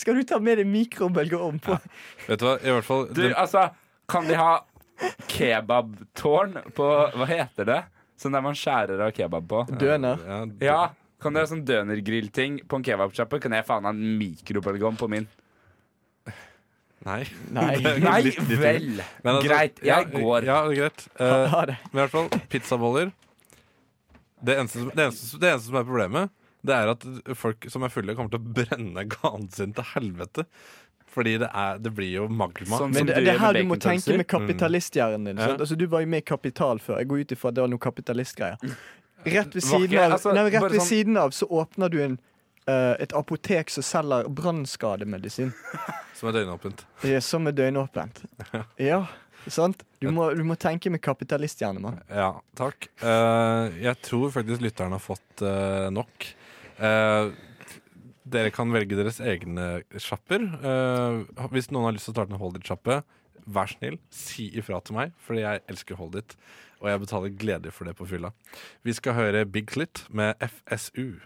Skal du ta med deg mikrobølgeovn på? vet du hva, i hvert fall Du, den, altså, kan de ha kebabtårn på Hva heter det? Sånn der man skjærer av kebab på. Døner. ja, d- Ja, kan dere ha sånn dønergrillting på en kebabsjappe? Kan jeg faen ha en mikrobølgeovn på min? Nei. Nei. Nei litt- litt- vel! Men altså, Greit, ja, jeg går. Ja, greit. Eh, Ha det. men i hvert fall, pizzaboller det eneste, som- det, eneste, som- det eneste som er problemet, det er at folk som er fulle, kommer til å brenne ganen sin til helvete. Fordi det, er, det blir jo magma. Sånn Men som det, du det gjør er her med du må tenke bacontoaster. med kapitalisthjernen din. Ja. sant? Altså, du var jo med i Kapital før. Jeg går ut ifra at det var noe kapitalistgreier. Rett ved Var ikke- siden av, altså, nei, men bare rett ved sånn- siden av så åpner du en, eh, et apotek som selger brannskademedisin. Som er døgnåpent. Det er Som er døgnåpent. Ja, sant? Du må, du må tenke med kapitalisthjerne, mann. Ja, takk. Eh, jeg tror faktisk lytteren har fått eh, nok. Eh, dere kan velge deres egne sjapper. Eh, hvis noen har lyst til å starte en Holdit-sjappe, vær snill, si ifra til meg, fordi jeg elsker Holdit. Og jeg betaler gledelig for det på fylla. Vi skal høre Big Slit med FSU.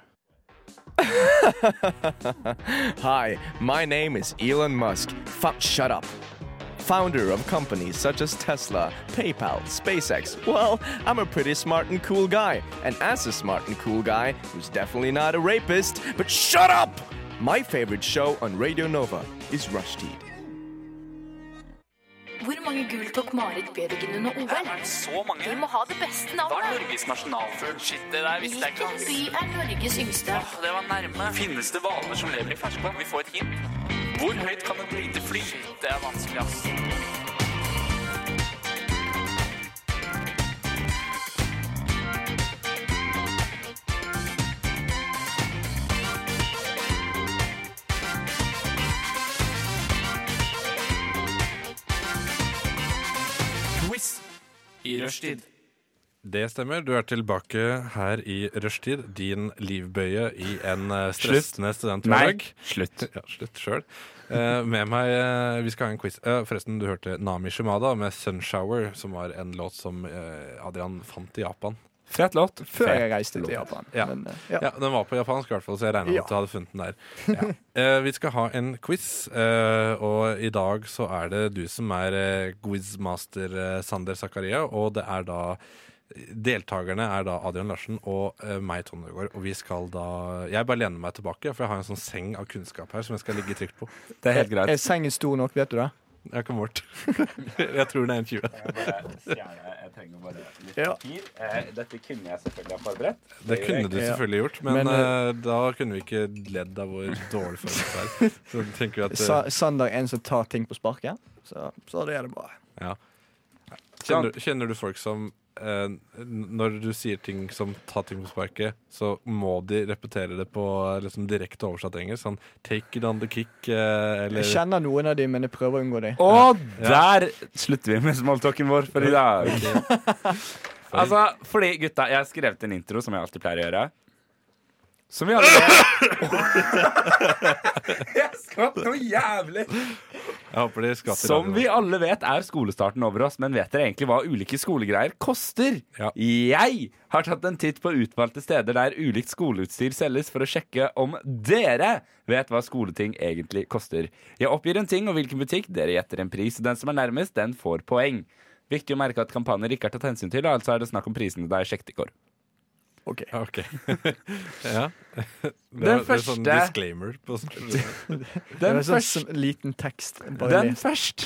Hi, my name is Elon Musk. Fuck, shut up. Founder of companies such as Tesla, PayPal, SpaceX. Well, I'm a pretty smart and cool guy. And as a smart and cool guy, who's definitely not a rapist, but shut up! My favorite show on Radio Nova is Rushdie. Hvor mange gull tok Marit Bjørgen under OL? Så mange. Vi må ha det beste navnet. Norges nasjonalfugl? Shit, det der Hvilken by er Norges yngste? Det var nærme. Finnes det hvaler som lever i ferskvann? Vi får et hint. Hvor høyt kan et lite fly? Det er vanskelig, ass. Quiz i rushtid. Det stemmer. Du er tilbake her i rushtid, din livbøye i en eh, Slutt. stressende Nei, studenthverdag. slutt. Ja, slutt sjøl. med meg eh, Vi skal ha en quiz. Eh, forresten, du hørte Nami Shimada med 'Sunshower', som var en låt som eh, Adrian fant i Japan. Fet låt. Før Fet jeg reiste låt. til Japan. Ja. Men, eh, Ja. Den var på japansk, i hvert fall, så jeg regner med Ja. at du hadde funnet den der. Ja. Eh, vi skal ha en quiz, eh, og i dag så er det du som er eh, quizmaster eh, Sander Zakaria, og det er da Deltakerne er da Adrian Larsen og eh, meg, Tonje Ødegaard. Og vi skal da Jeg bare lener meg tilbake, for jeg har en sånn seng av kunnskap her som jeg skal ligge trygt på. Det er helt Er greit. sengen stor nok, vet du det? Jeg har ikke målt. jeg tror den er 1,20. Jeg trenger bare litt Ja. papir. Eh, Dette kunne jeg selvfølgelig ha forberedt. Det kunne du Ja. selvfølgelig gjort, men, Men, eh, da kunne vi ikke ledd av hvor dårlig form du er. Så tenker vi at eh, Sa Sander er en som tar ting på sparket, så, så det er det bra. Ja. Kjenner, kjenner du folk som eh, n- Når du sier ting som 'ta ting på sparket', så må de repetere det på eh, liksom, direkte oversatt engelsk? Sånn 'take it on the kick' eh, eller Jeg kjenner noen av dem, men jeg prøver å unngå dem. Og der slutter vi med smalltalken vår for i dag. Altså, fordi gutta, jeg har skrevet en intro som jeg alltid pleier å gjøre. Som vi alle Jeg skvatt noe jævlig! Jeg håper de skvatter. Som av vi det. alle vet, er skolestarten over oss. Men vet dere egentlig hva ulike skolegreier koster? Ja. Jeg har tatt en titt på utvalgte steder der ulikt skoleutstyr selges, for å sjekke om dere vet hva skoleting egentlig koster. Jeg oppgir en ting og hvilken butikk. Dere gjetter en pris. Den som er nærmest, den får poeng. Viktig å merke at kampanjer ikke er tatt hensyn til, altså er det snakk om prisene da jeg sjekket i går. Ok. Ja, OK. ja. Det Den er, det er sånn første- disclaimer. På sånn. Det er Den en sånn først. som- liten tekst. Bare Den les. først.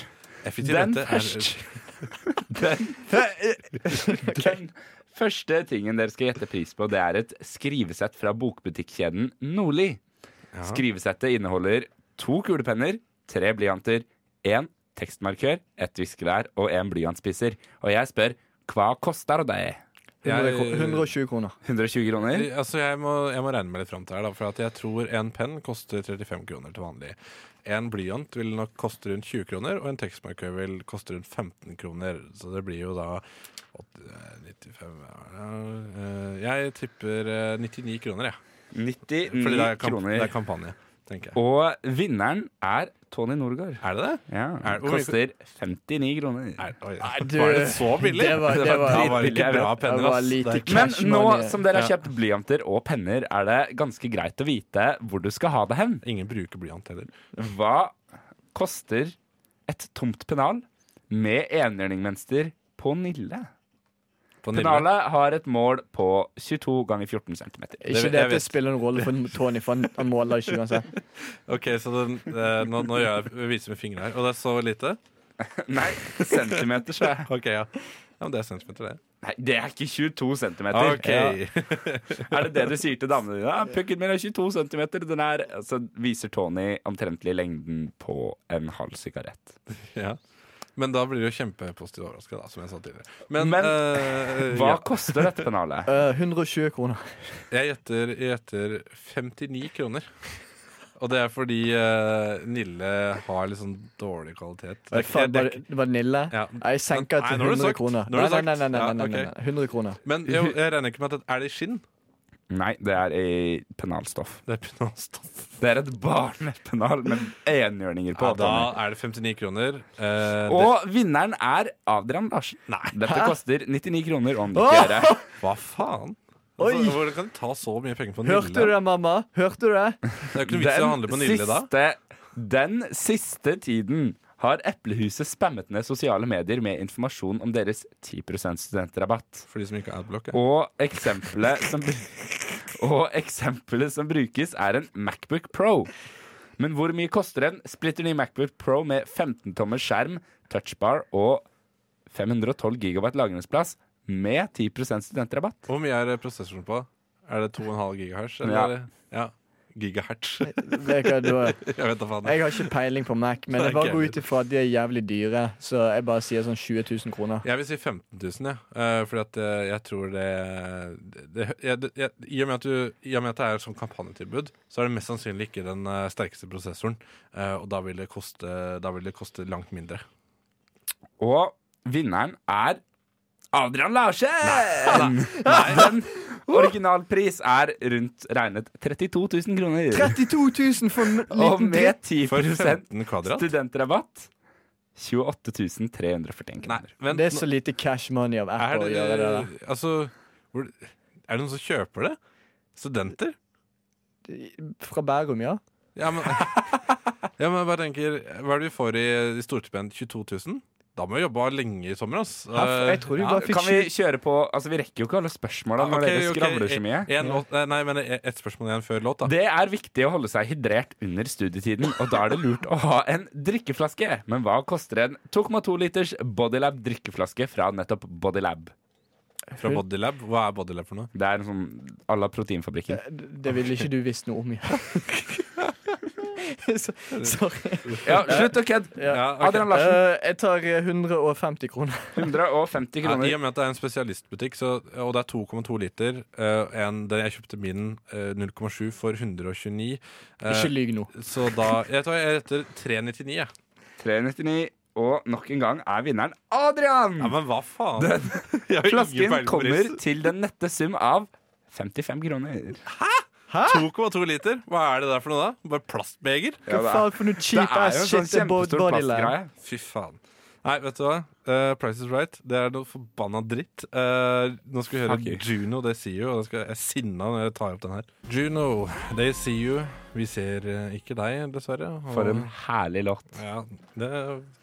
Effektiv Den rente er- først. Den, den første tingen dere skal gjette pris på, det er et skrivesett fra bokbutikkjeden Nordli. Ja. Skrivesettet inneholder to kulepenner, tre blyanter, én tekstmarkør, ett viskelær og én blyantspisser. Og jeg spør hva koster det? 100 Jeg- kro- 120 kroner. 120 kroner? Altså, jeg må, jeg må regne meg litt fram til her, da, for at jeg tror en penn koster 35 kroner til vanlig. En blyant vil nok koste rundt 20 kroner, og en tekstmarkør vil koste rundt 15 kroner. Så det blir jo da 80, eh, 95 ja, eh, Jeg tipper eh, 99 kroner, jeg. 99 Fordi det er, kamp det kroner. er kampanje, tenker jeg. Og vinneren er Tony Norgård. Er det det? Ja, Er- hvor mye- koster 59 kroner. Er, oi, du- var det så billig? det var- det var- da var det ikke billig, jeg bra vet. Det penner, var ass. lite Det er ikke- Men Cash nå money. som dere har Ja. kjøpt blyanter og penner, er det ganske greit å vite hvor du skal ha det hen. Ingen bruker blyant heller. Hva koster et tomt pennal med enhjørningmønster på Nille? På Nille. Pennalet har et mål på 22 ganger 14 cm. Ikke jeg det at vet. det spiller en rolle for Tony, for han, han måler ikke uansett. Ok, så den, eh, nå, nå gjør jeg viser med fingeren her, og det er så lite? Nei, centimeter, sa jeg. Ok, ja. ja men det er centimeter, det. Nei, det er ikke 22 cm. Ok. Er det det du sier til damene dine? Ja, Pukken min er 22 cm. Den er Så viser Tony omtrentlig lengden på en halv sigarett. Ja. Men da blir du jo kjempepositivt overraska, da, som jeg sa tidligere. Men, Men, eh, Hva ja. koster dette pennalet? Eh, 120 kroner. jeg, gjetter, jeg gjetter 59 kroner. Og det er fordi eh, Nille har litt sånn dårlig kvalitet. Det er ikke- Faen, det er var, ikke- var det Nille? Ja. Nei, Jeg senker Nei, til nå har du 100 sagt. Nå kroner. har Nei, du nei, sagt. nei, nei, nei, Ja, nei, nei, ok. nei. 100 kroner. Men jeg, jeg regner ikke med at det er det i skinn. Nei, det er i pennalstoff. Det er pinalstoff. Det er et barnepennal med enhjørninger på. Ja, da er det 59 kroner. Eh, det, Og vinneren er Adrian Larsen. Nei. Dette koster 99 kroner og 90 øre. hva faen? Oi. Altså, hvordan kan du ta så mye penger på Nille? Hørte du det, mamma? Hørte du det? Det er jo ikke noe vits i å handle på Nille da. siste, den siste tiden har Eplehuset spammet ned sosiale medier med informasjon om deres 10 studentrabatt. For de som ikke har adblock. ja. Og eksempelet som, br- Og eksempelet som brukes, er en Macbook Pro. Men hvor mye koster en splitter ny Macbook Pro med 15-tommer skjerm, touchbar og 512 gigabyte lagringsplass med 10 studentrabatt? Hvor mye er prosessoren på? Er det 2,5 gigahertz? Ja. Eller? Ja. Gigahertz. Jeg Det kan du ha. vet da faen. Jeg har ikke peiling på Mac, men Nei, jeg bare ikke går jeg ut ifra at de er jævlig dyre. Så jeg bare sier sånn 20 000 kroner. Jeg vil si 15 000, ja. Eh, fordi at eh, jeg tror det, det, jeg, det jeg, i, og med at du, I og med at det er et sånt kampanjetilbud, så er det mest sannsynlig ikke den eh, sterkeste prosessoren. Eh, og da vil, det koste, da vil det koste langt mindre. Og vinneren er Adrian Larsen! Den originalpris er rundt regnet 32 000 kroner. 32 000 for en Og liten med dritt! 10 For 15 kvadrat? studentrabatt 28 341 kroner. Men Det er så lite cash money av er Apple å det, gjøre det. der. altså, hvor, er det noen som kjøper det? Studenter? Fra Bærum, ja. Ja, men, ja, men jeg bare tenker Hva er det vi får i, i storstipend? 22 000? Da må vi jobbe lenge i sommer, ass. Hæ, jeg tror du bare fikk Kan vi kjøre på Altså, vi rekker jo ikke alle spørsmålene når dere skravler så mye. En, låt- eh, nei, men eh, ett spørsmål igjen før låt, da. Det er viktig å holde seg hydrert under studietiden, og da er det lurt å ha en drikkeflaske. Men hva koster en 2,2 liters Bodylab drikkeflaske fra nettopp Bodylab? Fra Bodylab. Hva er Bodylab for noe? Det er en sånn à la proteinfabrikken. Det ville ikke du visst noe om. Ja. Så- Sorry. Ja, slutt å kødde! Ja, ok. Adrian Larsen, Eh, jeg tar eh, 150 kroner. 150 Ja, I kroner. og med at det er en spesialistbutikk, så, og det er 2,2 liter eh, en, den Jeg kjøpte min eh, 0,7 for 129. eh, Ikke lyg nå. så da Jeg tror jeg retter 399, jeg. 399. Og nok en gang er vinneren Adrian! Ja, men hva faen? Jeg har ingen Flasken peiling på kommer pris. til den nette sum av 55 kroner. 2,2 liter? Hva er det der for noe, da? Bare plastbeger? Hva det er- sånn faen for noe cheap ass shit det er sånn bod- bodylab? Fy faen. Nei, vet du hva? Eh, Price is right. Det er noe forbanna dritt. Eh, nå skal vi høre Fuck you. Juno, They See You. Og da skal jeg er sinna når jeg tar opp den her. Juno, They See You. Vi ser eh, ikke deg, dessverre. Og- For en herlig låt. Ja, det,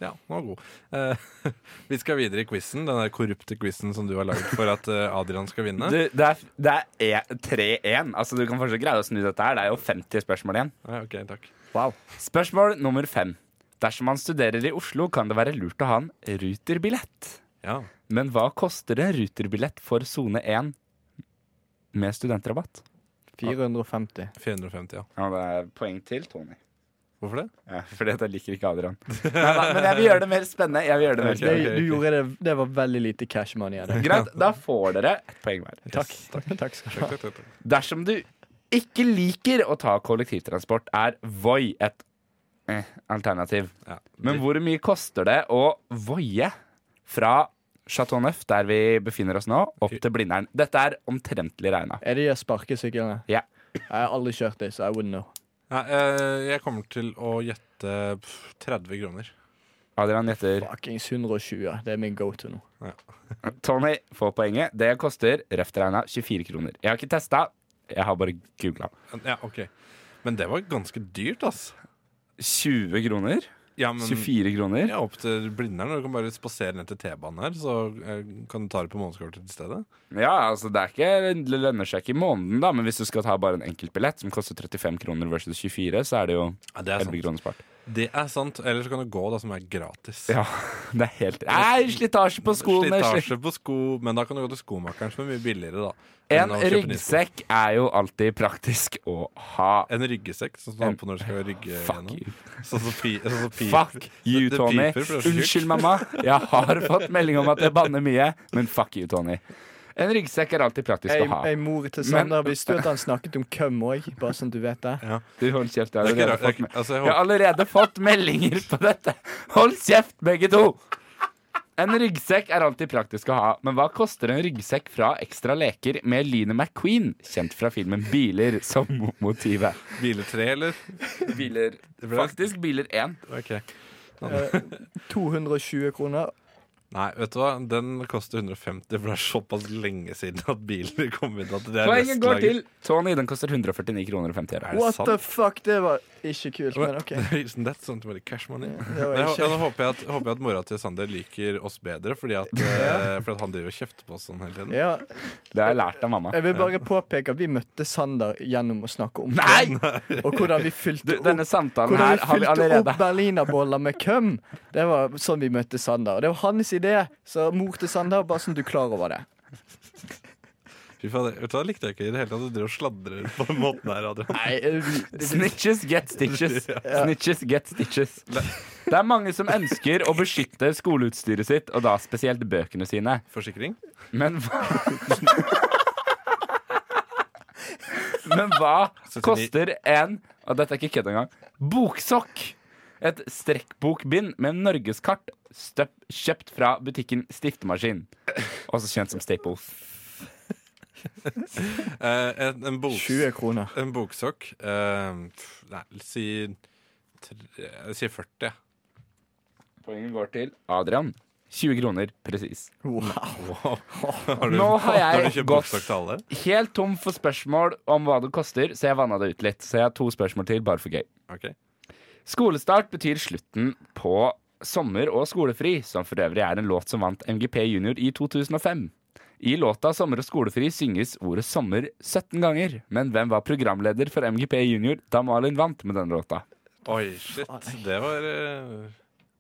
ja den var god. Eh, vi skal videre i quizen, den der korrupte quizen som du har lagd for at eh, Adrian skal vinne. Du, det er, det er e- 3-1. Altså, du kan fortsatt greie å snu dette her. Det er jo 50 spørsmål igjen. Nei, ok, takk. Wow. Spørsmål nummer fem. Dersom man studerer i Oslo, kan det være lurt å ha en ruterbillett. Ja. Men hva koster en ruterbillett for sone 1 med studentrabatt? 450. 450, ja. Ja, det er poeng til, Tony. Hvorfor det? Ja, fordi at jeg liker ikke Adrian. Nei, nei, men jeg vil gjøre det mer spennende. Jeg vil gjøre det mer Ok, ok, spennende. Det, ok. du gjorde det, det var veldig lite cash money av det. Greit, da får dere ett poeng hver. Takk. Takk skal du ha. Takk, takk, takk. Dersom du ikke liker å ta kollektivtransport, er Voi et eh, alternativ. Ja. Men hvor mye koster det å voie fra Chateau Neuf, der vi befinner oss nå, opp til Blindern? Dette er omtrentlig regna. Er det de sparkesyklene? Ja. Jeg har aldri kjørt det, så I wouldn't know. Nei, eh, jeg kommer til å gjette pff, 30 kroner. Adrian gjetter. Fuckings 120. Det er min go to nå. Tony får poenget. Det koster røft regna 24 kroner. Jeg har ikke testa, jeg har bare googla. Ja, ok. Men det var ganske dyrt, ass. 20 kroner? Ja, men 24 kroner? ja, opp til Blindern. og Du kan bare spasere ned til T-banen her, så eh, kan du ta det på månedskortet i stedet. Ja, altså det er ikke, det lønner seg ikke i måneden, da, men hvis du skal ta bare en enkeltbillett som koster 35 kroner versus 24, så er det jo Ja, det 11 kroner spart. Det er sant. Eller så kan du gå, da, som er gratis. Ja, det er helt Nei, slitasje på skoene! Slitasje på sko, men da kan du gå til skomakeren, som er mye billigere, da. sli- En enn å kjøpe nye sko. ryggsekk er jo alltid praktisk å ha. En ryggesekk, sånn som du har på når du skal rygge Fuck gjennom. you. Sånn som pi- sånn som pi- Fuck you, Det- det Tony. piper, for det er så tjukt. Unnskyld, mamma. Jeg har fått melding om at jeg banner mye, men fuck you, Tony. En ryggsekk er alltid praktisk Jeg, å ha. jeg mor til Sander Men- visste jo at han snakket om køm òg, bare sånn at du vet det. Du, hold kjeft. Jeg har Det er ikke allerede rart. fått, Jeg, me- altså, jeg jeg har håper, allerede fått meldinger på dette. Hold kjeft, begge to! En ryggsekk er alltid praktisk å ha, men hva koster en ryggsekk fra Ekstra Leker med Line McQueen, kjent fra filmen Biler, som motivet? biletre, eller? Biler Faktisk Biler 1. Ok. Eh, 220 kroner. Nei, vet du hva? Den koster 150, for det er såpass lenge siden at biler kom inn at det er Poenget går restlager. til Tony. Den koster 149 kroner og 50 øre. Er det What sant? the fuck, det var Ikke kult, men OK. Isn't that something with the cash money? det var Nei, ikke- jeg, nå håper jeg, at, håper jeg at mora til Sander liker oss bedre, fordi at, eh, fordi at han driver og kjefter på oss sånn hele tiden. Ja. Det har jeg lært av mamma. Jeg vil bare påpeke at vi møtte Sander gjennom å snakke om Nei! Og hvordan vi fylte opp Denne samtalen Hvordan her vi har vi fylte allerede opp berlinerboller med køm. Det var sånn vi møtte Sander. Og det var hans idé. Så mor til Sander, bare sånn du er klar over det. Fy faen, vet du hva, likte jeg ikke i det hele tatt. Du driver og sladrer på den måten her, Adrian. Snitches get stitches. Ja. Snitches get stitches. Det er mange som ønsker å beskytte skoleutstyret sitt, og da spesielt bøkene sine. Forsikring? Men hva Men hva koster en Og dette er ikke kødd engang. Boksokk! Et strekkbokbind med norgeskart støp, kjøpt fra butikken Stiftemaskin. Også kjent som Staples. Eh, en, en boks, 20 kroner. En boksokk eh, pff, Nei, si, tre, jeg sier 40. jeg. Poenget går til Adrian. 20 kroner presis. Wow. Har du, Nå har har du jeg kjøpt gått boksokk til alle? helt tom for spørsmål om hva det koster, så jeg vanna det ut litt. Så jeg har to spørsmål til, bare for gøy. Ok. Skolestart betyr slutten på sommer og skolefri, som for øvrig er en låt som vant MGP Junior i 2005. I låta 'Sommer og skolefri' synges ordet 'sommer' 17 ganger. Men hvem var programleder for MGP Junior da Malin vant med denne låta? Oi, shit. Det var eh,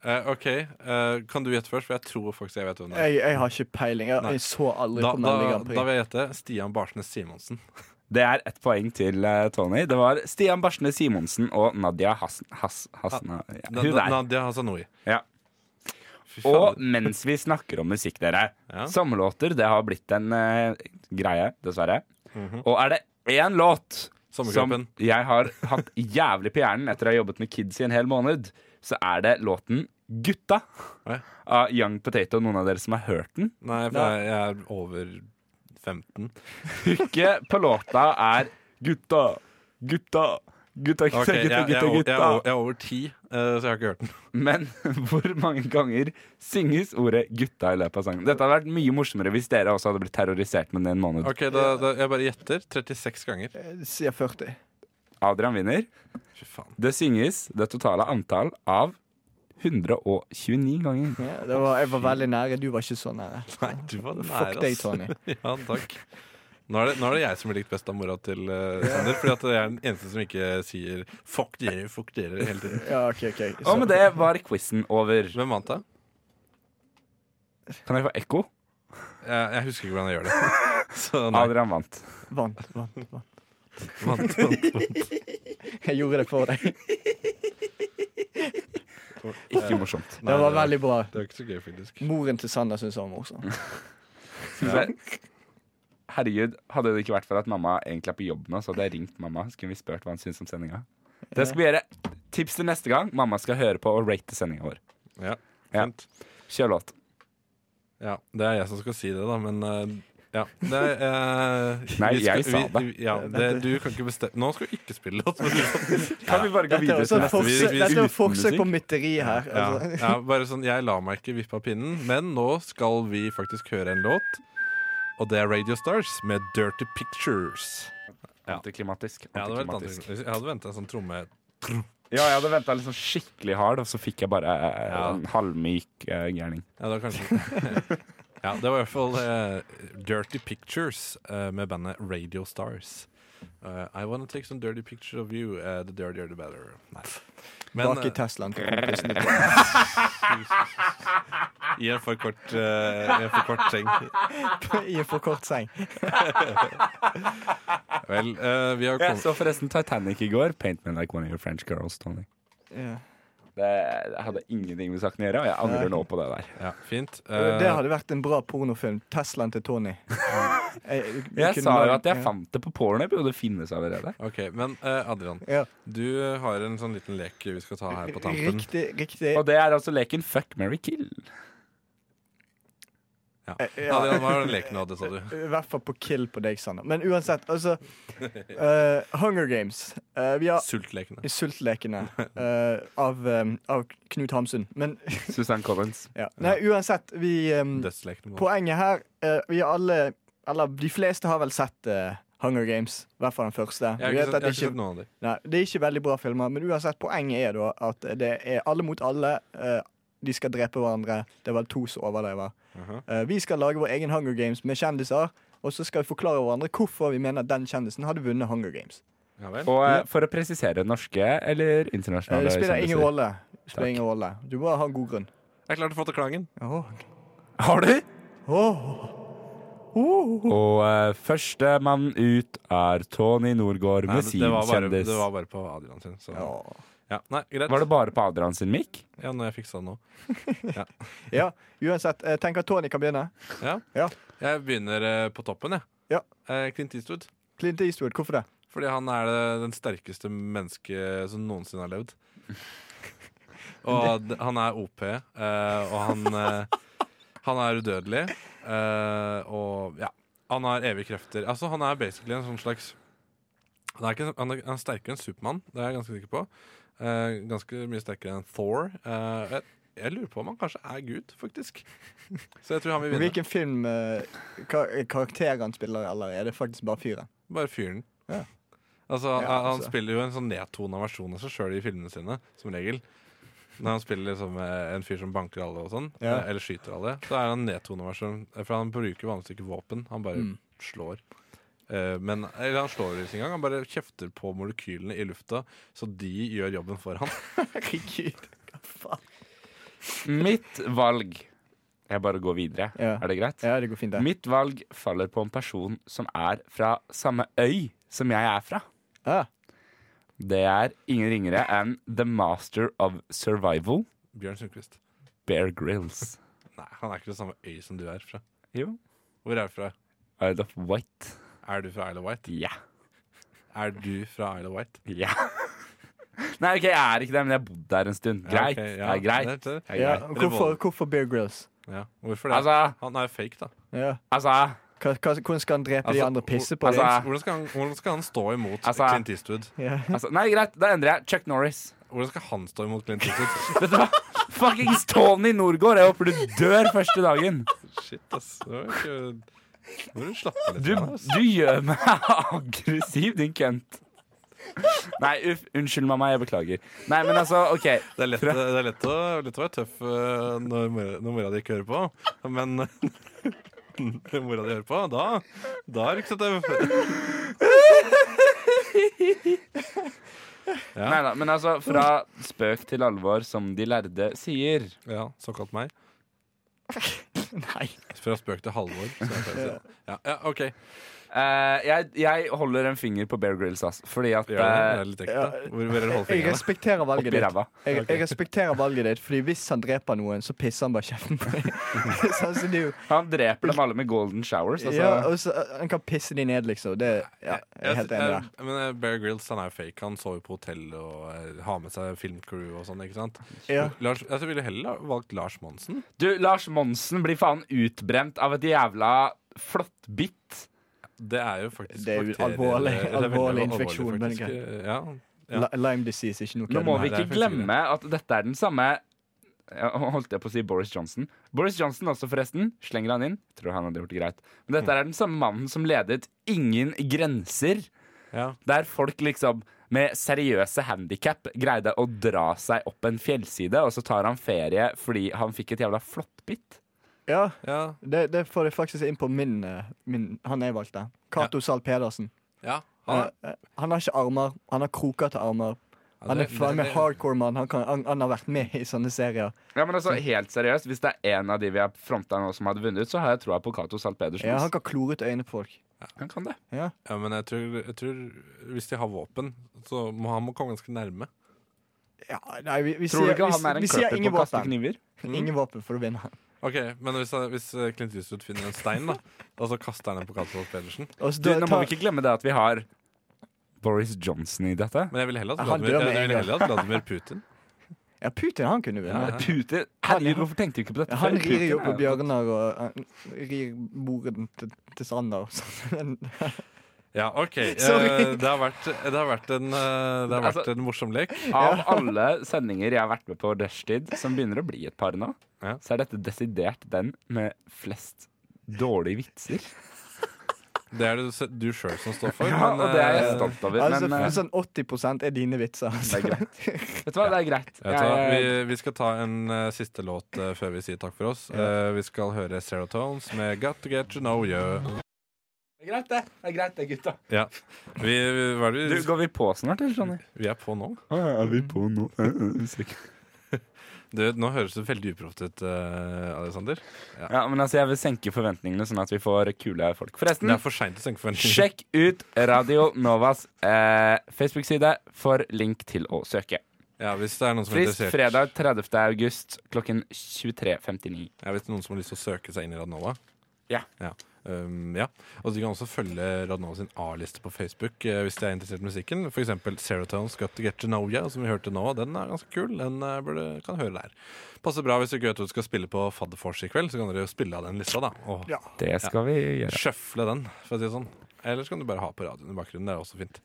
eh, OK. eh, kan du gjette først? For jeg tror faktisk jeg vet hvem det er. Jeg, jeg har ikke peiling. Jeg, Nei. jeg så aldri Da, på da, Melodi Grand da Prix. vil jeg gjette Stian Barsnes Simonsen. Det er ett poeng til eh, Tony. Det var Stian Barsne Simonsen og Nadia Hasn... Has, Hasna, ja. Na- Hun na- der. Nadia Hasanoui. Ja. faen. Og mens vi snakker om musikk, dere. Sommerlåter det har blitt en eh, greie, dessverre. Mhm. Og er det én låt som Sommergruppen. jeg har hatt jævlig på hjernen etter å ha jobbet med kids i en hel måned, så er det låten 'Gutta' Oi. av Young Potato. Noen av dere som har hørt den? Nei, for jeg, jeg er over 15. Hooket på låta er 'Gutta, gutta, gutta, Ok, gutta, jeg, jeg, gutta'. er o- jeg, er gutta, o- gutta. jeg er over 10, eh, så jeg har ikke hørt den. Men hvor mange ganger synges ordet 'gutta' i løpet av sangen? Dette hadde vært mye morsommere hvis dere også hadde blitt terrorisert med den en måned. Ok, da, da, Jeg bare gjetter. 36 ganger. Sier 40. Adrian vinner. Fy faen. Det synges det totale antall av 129 ganger. Ja, det var, jeg var veldig nære. Du var ikke så nære. Nei, du var nære, Fuck deg, ass. Tony. ja, takk. Nå er, det, nå er det jeg som blir likt best av mora til eh, Sander. Fordi at jeg er den eneste som ikke sier 'fuck dere, fuck dere' hele tiden. Ja, ok, ok Og med det var quizen over. Hvem vant, da? Kan jeg få ekko? Jeg, jeg husker ikke hvordan jeg gjør det. Så nei. Adrian vant. Vant, vant, vant. Vant, vant, vant. Jeg gjorde det for deg. Ikke morsomt. Nei, Det var veldig bra. Det var ikke så gøy, faktisk. Moren til Sander syntes han var morsom. Herregud, hadde det ikke vært for at mamma egentlig er på jobb nå, så hadde jeg ringt mamma. Så kunne vi spurt hva hun syns om sendinga. Det skal vi gjøre. Tips til neste gang. Mamma skal høre på og rate sendinga vår. Ja, Ja. fint. Kjør låt. Ja, det er jeg som skal si det, da, men eh, ja. Det er, eh, Nei, vi skal- jeg sa vi- Ja, det, du kan ikke bestemme Nå skal du ikke spille låt. men du- Kan vi bare gå Dette er videre også til et vi- neste forsøk, vi- dette er et uten forsøk på musikk. mytteri her. Ja, Altså. ja, bare sånn, Jeg lar meg ikke vippe av pinnen, men nå skal vi faktisk høre en låt. Og det er Radio Stars med 'Dirty Pictures'. Antiklimatisk. Jeg hadde, vent- antiklimatisk. jeg hadde venta en sånn tromme Ja, jeg hadde venta liksom skikkelig hard, og så fikk jeg bare eh, Ja. en halvmyk eh, gærning. Ja, det var kanskje Ja, det var i hvert fall eh, Dirty Pictures eh, med bandet Radio Stars. Eh, I wanna take some dirty picture of you. eh, the dirtier the better. Nei. Men, eh, Bak i Teslaen. til kompisen din. eh, I en for kort, eh, i en for kort seng. I en for kort seng. Vel, eh, vi har Jeg kommet så forresten Titanic i går. Paint me like one of your French girls, Tony. Ja. Det det hadde ingenting med saken å gjøre, og jeg Nei. angrer nå på det der. Ja, fint. Eh, Det hadde vært en bra pornofilm. Teslaen til Tony. Eh, Jeg, Jeg sa jo at jeg fant det på pornhub, og det finnes allerede. OK, men eh, Adrian, Ja. du har en sånn liten lek vi skal ta her på tampen. Riktig, riktig. Og det er altså leken Fuck, marry, kill. Eh, Ja. ja. Adrian, hva var den leken du hadde, sa du? I hvert fall på kill på deg, Sander. Men uansett, altså eh, Hunger Games. Eh, vi har Sultlekene. Sultlekene eh, av, eh, av Knut Hamsun. Men Susan Collins. ja. Nei, uansett, vi eh, Dødslekene. må- Poenget her eh, Vi alle, eller de fleste har vel sett eh, Hunger Games. I hvert fall den første. Jeg har Du ikke vet sett- at jeg har ikke ikke- sett noen av dem. Nei, det er ikke veldig bra filmer, men uansett, poenget er da at det er alle mot alle. eh, de skal drepe hverandre. Det er vel to som overlever. Eh, vi skal lage vår egen Hunger Games med kjendiser, og så skal vi forklare hverandre hvorfor vi mener den kjendisen hadde vunnet Hunger Games. Og eh, for å presisere norske eller Eh, internasjonale det spiller ingen kjendiser? rolle. Det Spiller ingen rolle. Du må ha en god grunn. Jeg klarte å få til klangen. Har du? Åh. Og uh, førstemann ut er Tony Norgård Nei, med det, sin det, var bare, kjendis. det var bare på Adrian sin. Så. Ja, nei, greit. Var det bare på Adrian sin mic? Ja, når jeg fiksa den nå. Ja, uansett. eh, tenk at Tony kan begynne. Ja. Jeg begynner eh, på toppen, jeg. Eh, Clint Eastwood. Clint Eastwood, hvorfor det? Fordi han er det- den sterkeste mennesket som noensinne har levd. Og d- han er OP, eh, og han, eh, han er udødelig. eh, og ja, han har evige krefter. Altså, han er basically en sånn slags Han er, ikke, han er, han er sterkere enn Supermann, det er jeg ganske sikker på. Eh, ganske mye sterkere enn Thor. Eh, jeg, jeg lurer på om han kanskje er Gud, faktisk. Så jeg tror han vil vinne. Hvilken film eh, kar karakter han spiller, eller er det faktisk bare fyren? Bare fyren. Altså, Ja, han, han altså. spiller jo en sånn nedtona versjon av seg sjøl i filmene sine, som regel. Når han spiller liksom eh, en fyr som banker alle og sånn, Ja. eh, eller skyter alle, så er han en nedtona versjon. eh, For han bruker vanligvis ikke våpen, han bare Mm. slår. Eh, Men, eller han slår ikke engang, han bare kjefter på molekylene i lufta, så de gjør jobben for han. Herregud, hva faen? Mitt valg Jeg bare går videre. Er det greit? Ja, det går fint det. Mitt valg faller på en person som er fra samme øy som jeg er fra. Det er ingen ringere enn The Master of Survival, Bjørn Sundquist. Bear Grills. Nei, han er ikke fra samme øy som du er fra. Jo. Hvor er du fra? Isle of White. Er du fra Isle of White? Ja. Er du fra Isle of White? Ja. Nei, ok, jeg er ikke det, men jeg har bodd der en stund. Ja, Greit. ok, ja. Det er greit. Det er det. Det er Ja, greit. hvorfor, hvorfor Bear Grylls? Ja, hvorfor det? Altså- han er jo fake, da. Ja. Altså, Hva, hva, hvordan skal han drepe de Altså, andre og pisse på hvordan- dem? hvordan, skal han, hvordan skal han stå imot Altså- Clint Eastwood? Ja. altså Nei, greit, da endrer jeg. Chuck Norris. Hvordan skal han stå imot Clint Eastwood? Vet du hva? Fuckings Tony Norgård, jeg håper du dør første dagen. Shit, ass. Det var ikke- Nå må du slappe av litt. Du, her, ass. du gjør meg aggressiv, din kønt. Nei, uff, unnskyld mamma, jeg beklager. Nei, men altså, OK. Det er lett, det er lett, å, lett å være tøff eh, når, mora- når mora di ikke hører på, men når mora di hører på, da, da er du ikke så tøff. Nei da, men altså, fra spøk til alvor, som de lærde sier. Ja, såkalt meg. Nei. Fra spøk til halvår. så jeg pleier å si. Ja, ja, OK. Eh, jeg, jeg holder en finger på Bear Grylls, ass, fordi at Gjør det. Det er eh, litt ekte. Hvor, hvor er det Jeg holdfingeren? respekterer valget Oppi ditt. ræva. Jeg, jeg respekterer valget ditt, Fordi hvis han dreper noen, så pisser han bare kjeften på deg. sånn som du. han dreper dem alle med golden showers. Altså. Ja, og så, eh, han kan pisse de ned, liksom. Det, ja, jeg er helt enig der. Jeg- Men eh, Bear Grylls han er jo fake. Han sover på hotell og eh, har med seg filmcrew og sånn. ikke sant? Ja. Lars, altså, jeg ville heller ha valgt Lars Monsen. Du, Lars Monsen blir faen utbrent av et jævla flåttbitt. Det er jo faktisk Det er jo bakterier- alvorlig- det er veldig alvorlig infeksjon, men faktisk. Ja. Ja. Li- Lyme disease, ikke noe Nå kødd må med. vi det er ikke faktisk glemme at dette er den samme ja, Holdt jeg på å si Boris Johnson. Boris Johnson også, forresten. Slenger han inn. Tror han hadde gjort det greit. Men dette er den samme mannen som ledet Ingen grenser, Ja. der folk liksom med seriøse handikap greide å dra seg opp en fjellside, og så tar han ferie fordi han fikk et jævla flåttbitt. Ja, Ja. det, det får jeg faktisk inn på min, eh, min Han jeg valgte. Cato Zahl Pedersen. ja. Han, eh, Han, han har ikke armer. Han har krokete armer. Han er det- faen det- meg hardcore mann. Han, kan- han, han har vært med i sånne serier. Ja, men altså, helt seriøst, Hvis det er en av de vi har fronta nå som hadde vunnet, så har jeg troa på Cato Zahl Pedersen. Ja, ass. han kan klore ut øynene på folk. han kan det. Ja. ja, men jeg tror, jeg tror Hvis de har våpen, så må han må komme ganske nærme. Ja, nei, vi, vi Tror du sier, ikke vi, han er vi en sier kløpper ingen på Mm. å kaste våpen. kniver? Ingen våpen for å vinne. Ok, Men hvis, eh, hvis Clint Eastwood finner en stein, da og så kaster han den på Katolf Pedersen Og så Du, da nå må tar- vi ikke glemme det at vi har Boris Johnson i dette. Men jeg ville heller hatt Han Vladimir, dør jeg med en ville gang. heller hatt Vladimir Putin. Ja, Putin, han kunne Ja, vinne. ja. Putin Herregud, hvorfor tenkte vi ikke på dette? Han før? rir jo Putin på er- bjørner og han rir borden til, til Sander. og sånn. Ja, OK. Eh, Sorry. det, har vært, det har vært en, eh, det har vært Altså- en morsom lek. Av alle sendinger jeg har vært med på rushtid, som begynner å bli et par nå, Ja. så er dette desidert den med flest dårlige vitser. Det er det du sjøl som står for. Ja, og det er jeg eh, stolt over, Altså, men, eh, sånn 80 er dine vitser. Altså. Det er greit. Vet du hva, det er greit. Vet du hva, Jeg- vi, vi skal ta en eh, siste låt eh, før vi sier takk for oss. Eh, vi skal høre Serotones med 'Got to Get To Know You'. Det er greit, det. Det er greit, det, gutta. Ja. Vi, hva er det? Du, går vi på snart, eller, Johnny? Vi er på nå. Er vi på nå? Du, nå høres det veldig uproft ut, eh, Alexander. Ja. Ja, men altså, jeg vil senke forventningene, sånn at vi får kule folk. Forresten, Det er for seint å senke forventningene. Mm. sjekk ut Radio Novas eh, Facebook-side for link til å søke. Ja, hvis det er noen som er Frist interessert fredag 30. august klokken 23.59. Ja, Hvis det er noen som har lyst til å søke seg inn i Radnova. Ja. Um, ja. Og de kan også følge Radnova sin A-liste på Facebook eh, hvis de er interessert i musikken. For eksempel Serotones Got to Get to Know Ya, som vi hørte nå. Den er ganske kul. Den eh, burde, kan høre der. Passer bra hvis du ikke vet hva du skal spille på Fadderfors i kveld, så kan dere jo spille av den lista, da. Og Ja. Det skal vi gjøre. sjøfle den, for å si det sånn. Eller så kan du bare ha på radioen i bakgrunnen. Det er også fint.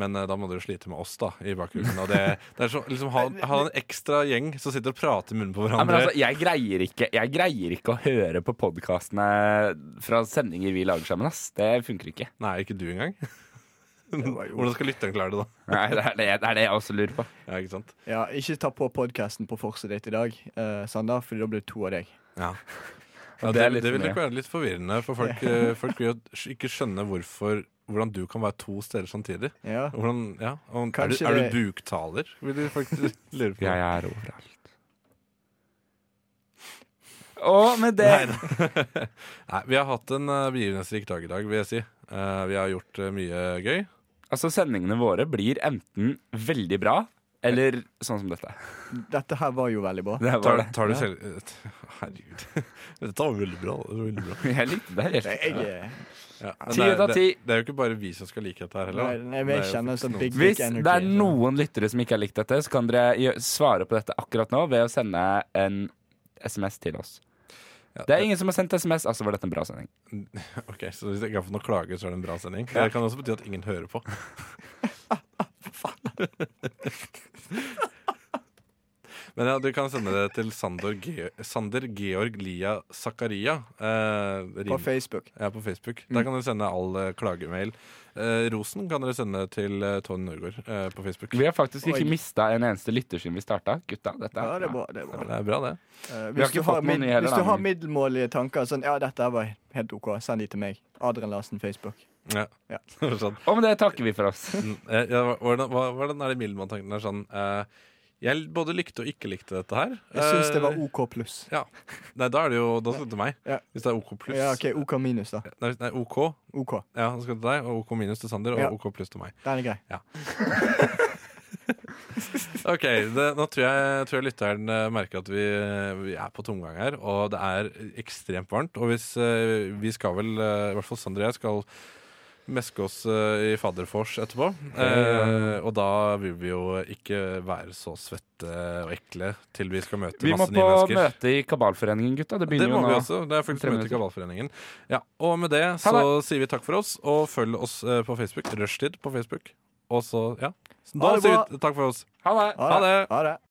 Men eh, da må dere slite med oss, da, i bakgrunnen. Og det, det er så, liksom, ha, ha en ekstra gjeng som sitter og prater i munnen på Ja, men hverandre. altså, jeg greier ikke Jeg greier ikke å høre på podkastene fra sendinger vi lager sammen. ass Det funker ikke. Nei, ikke du engang. var jo- Hvordan skal lytteren klare det, da? Nei, det er det, det er det jeg også lurer på. Ja, ikke sant? Ja, ikke ta på podkasten på Forset ditt i dag, eh, Sander, for da blir det to av deg. Ja. Og det, det er litt det vil for nok være litt forvirrende, for folk, eh, folk vil jo sk- ikke skjønne hvorfor, hvordan du kan være to steder samtidig. Ja. Hvordan, ja, og er, du, Kanskje er det- du buktaler, vil de folk lure på. Jeg er overalt. Og med det Nei, Nei, vi har hatt en eh, begivenhetsrik dag i dag, vil jeg si. Eh, vi har gjort eh, mye gøy. Altså, sendingene våre blir enten veldig bra eller sånn som dette. Dette her var jo veldig bra. Det her var Tar, det. tar du Ja. selv eh, t- Herregud. Dette var veldig bra. Det var veldig bra. Jeg likte det helt. Jeg, eh, jeg, Ja, men Ti det er- ut av det- ti. Det er jo ikke bare vi som skal like dette her heller. da. Nei, nei, men Det er jeg jo kjenner faktisk sånn noen big- som- Hvis energy, det er så- noen lyttere som ikke har likt dette, så kan dere gjø- svare på dette akkurat nå ved å sende en SMS til oss. Ja, Det er ingen som har sendt SMS, altså var dette en bra sending. Ok, Så hvis jeg ikke har fått noen klager, så er det en bra sending. Det kan også bety at ingen hører på. Men ja, du kan sende det til Sander, Ge Sander Georg Lia Zakaria. Eh, rim- på Facebook. Mm. ja, på Facebook. Der kan du sende all eh, klagemail. Eh, rosen kan dere sende til eh, Tony Norgård eh, på Facebook. Vi har faktisk ikke Oi. mista en eneste lytter siden vi starta. Gutta, dette Ja, er det er bra. bra. Det er Ja, bra. det er bra, det. Eh, Vi har hvis, ikke du har fått mid, noen i hele hvis du landet. har middelmålige tanker, sånn Ja, dette her var helt OK, send de til meg. Adrian Larsen, Facebook. Ja. Ja. sånn. Og med det takker vi for oss. Eh, ja, hva- hvordan, hva, hvordan er det Mildmann-tanken er sånn eh, Jeg både likte og ikke likte dette her. Jeg syns det var Eh, OK pluss. Ja. Nei, da er det jo Da skal det til meg. Ja. Hvis det er OK pluss. Ja, OK, OK minus, da. Nei, hvis- nei, OK. OK. Ja, da skal det til deg, og OK minus til Sander, og Ja. OK pluss til meg. Den er grei. Ok, det, Nå tror jeg, tror jeg lytteren eh, merker at vi, vi er på tomgang her, og det er ekstremt varmt. Og hvis eh, vi skal vel, eh, i hvert fall Sander og jeg, skal meske oss eh, i fadderfors etterpå. Eh, og da vil vi jo ikke være så svette og ekle til vi skal møte Vi må masse nye på mennesker. møte i Kabalforeningen, gutta. Det Det begynner må jo vi nå. også. Det er faktisk Tre møte i minutter. Kavalforeningen. Ja, og med det så sier vi takk for oss, og følg oss eh, på Facebook. Rushtid på Facebook. Og så, ja. Ha Da det sier bra. vi takk for oss. Ha det. Ha det. Ha det.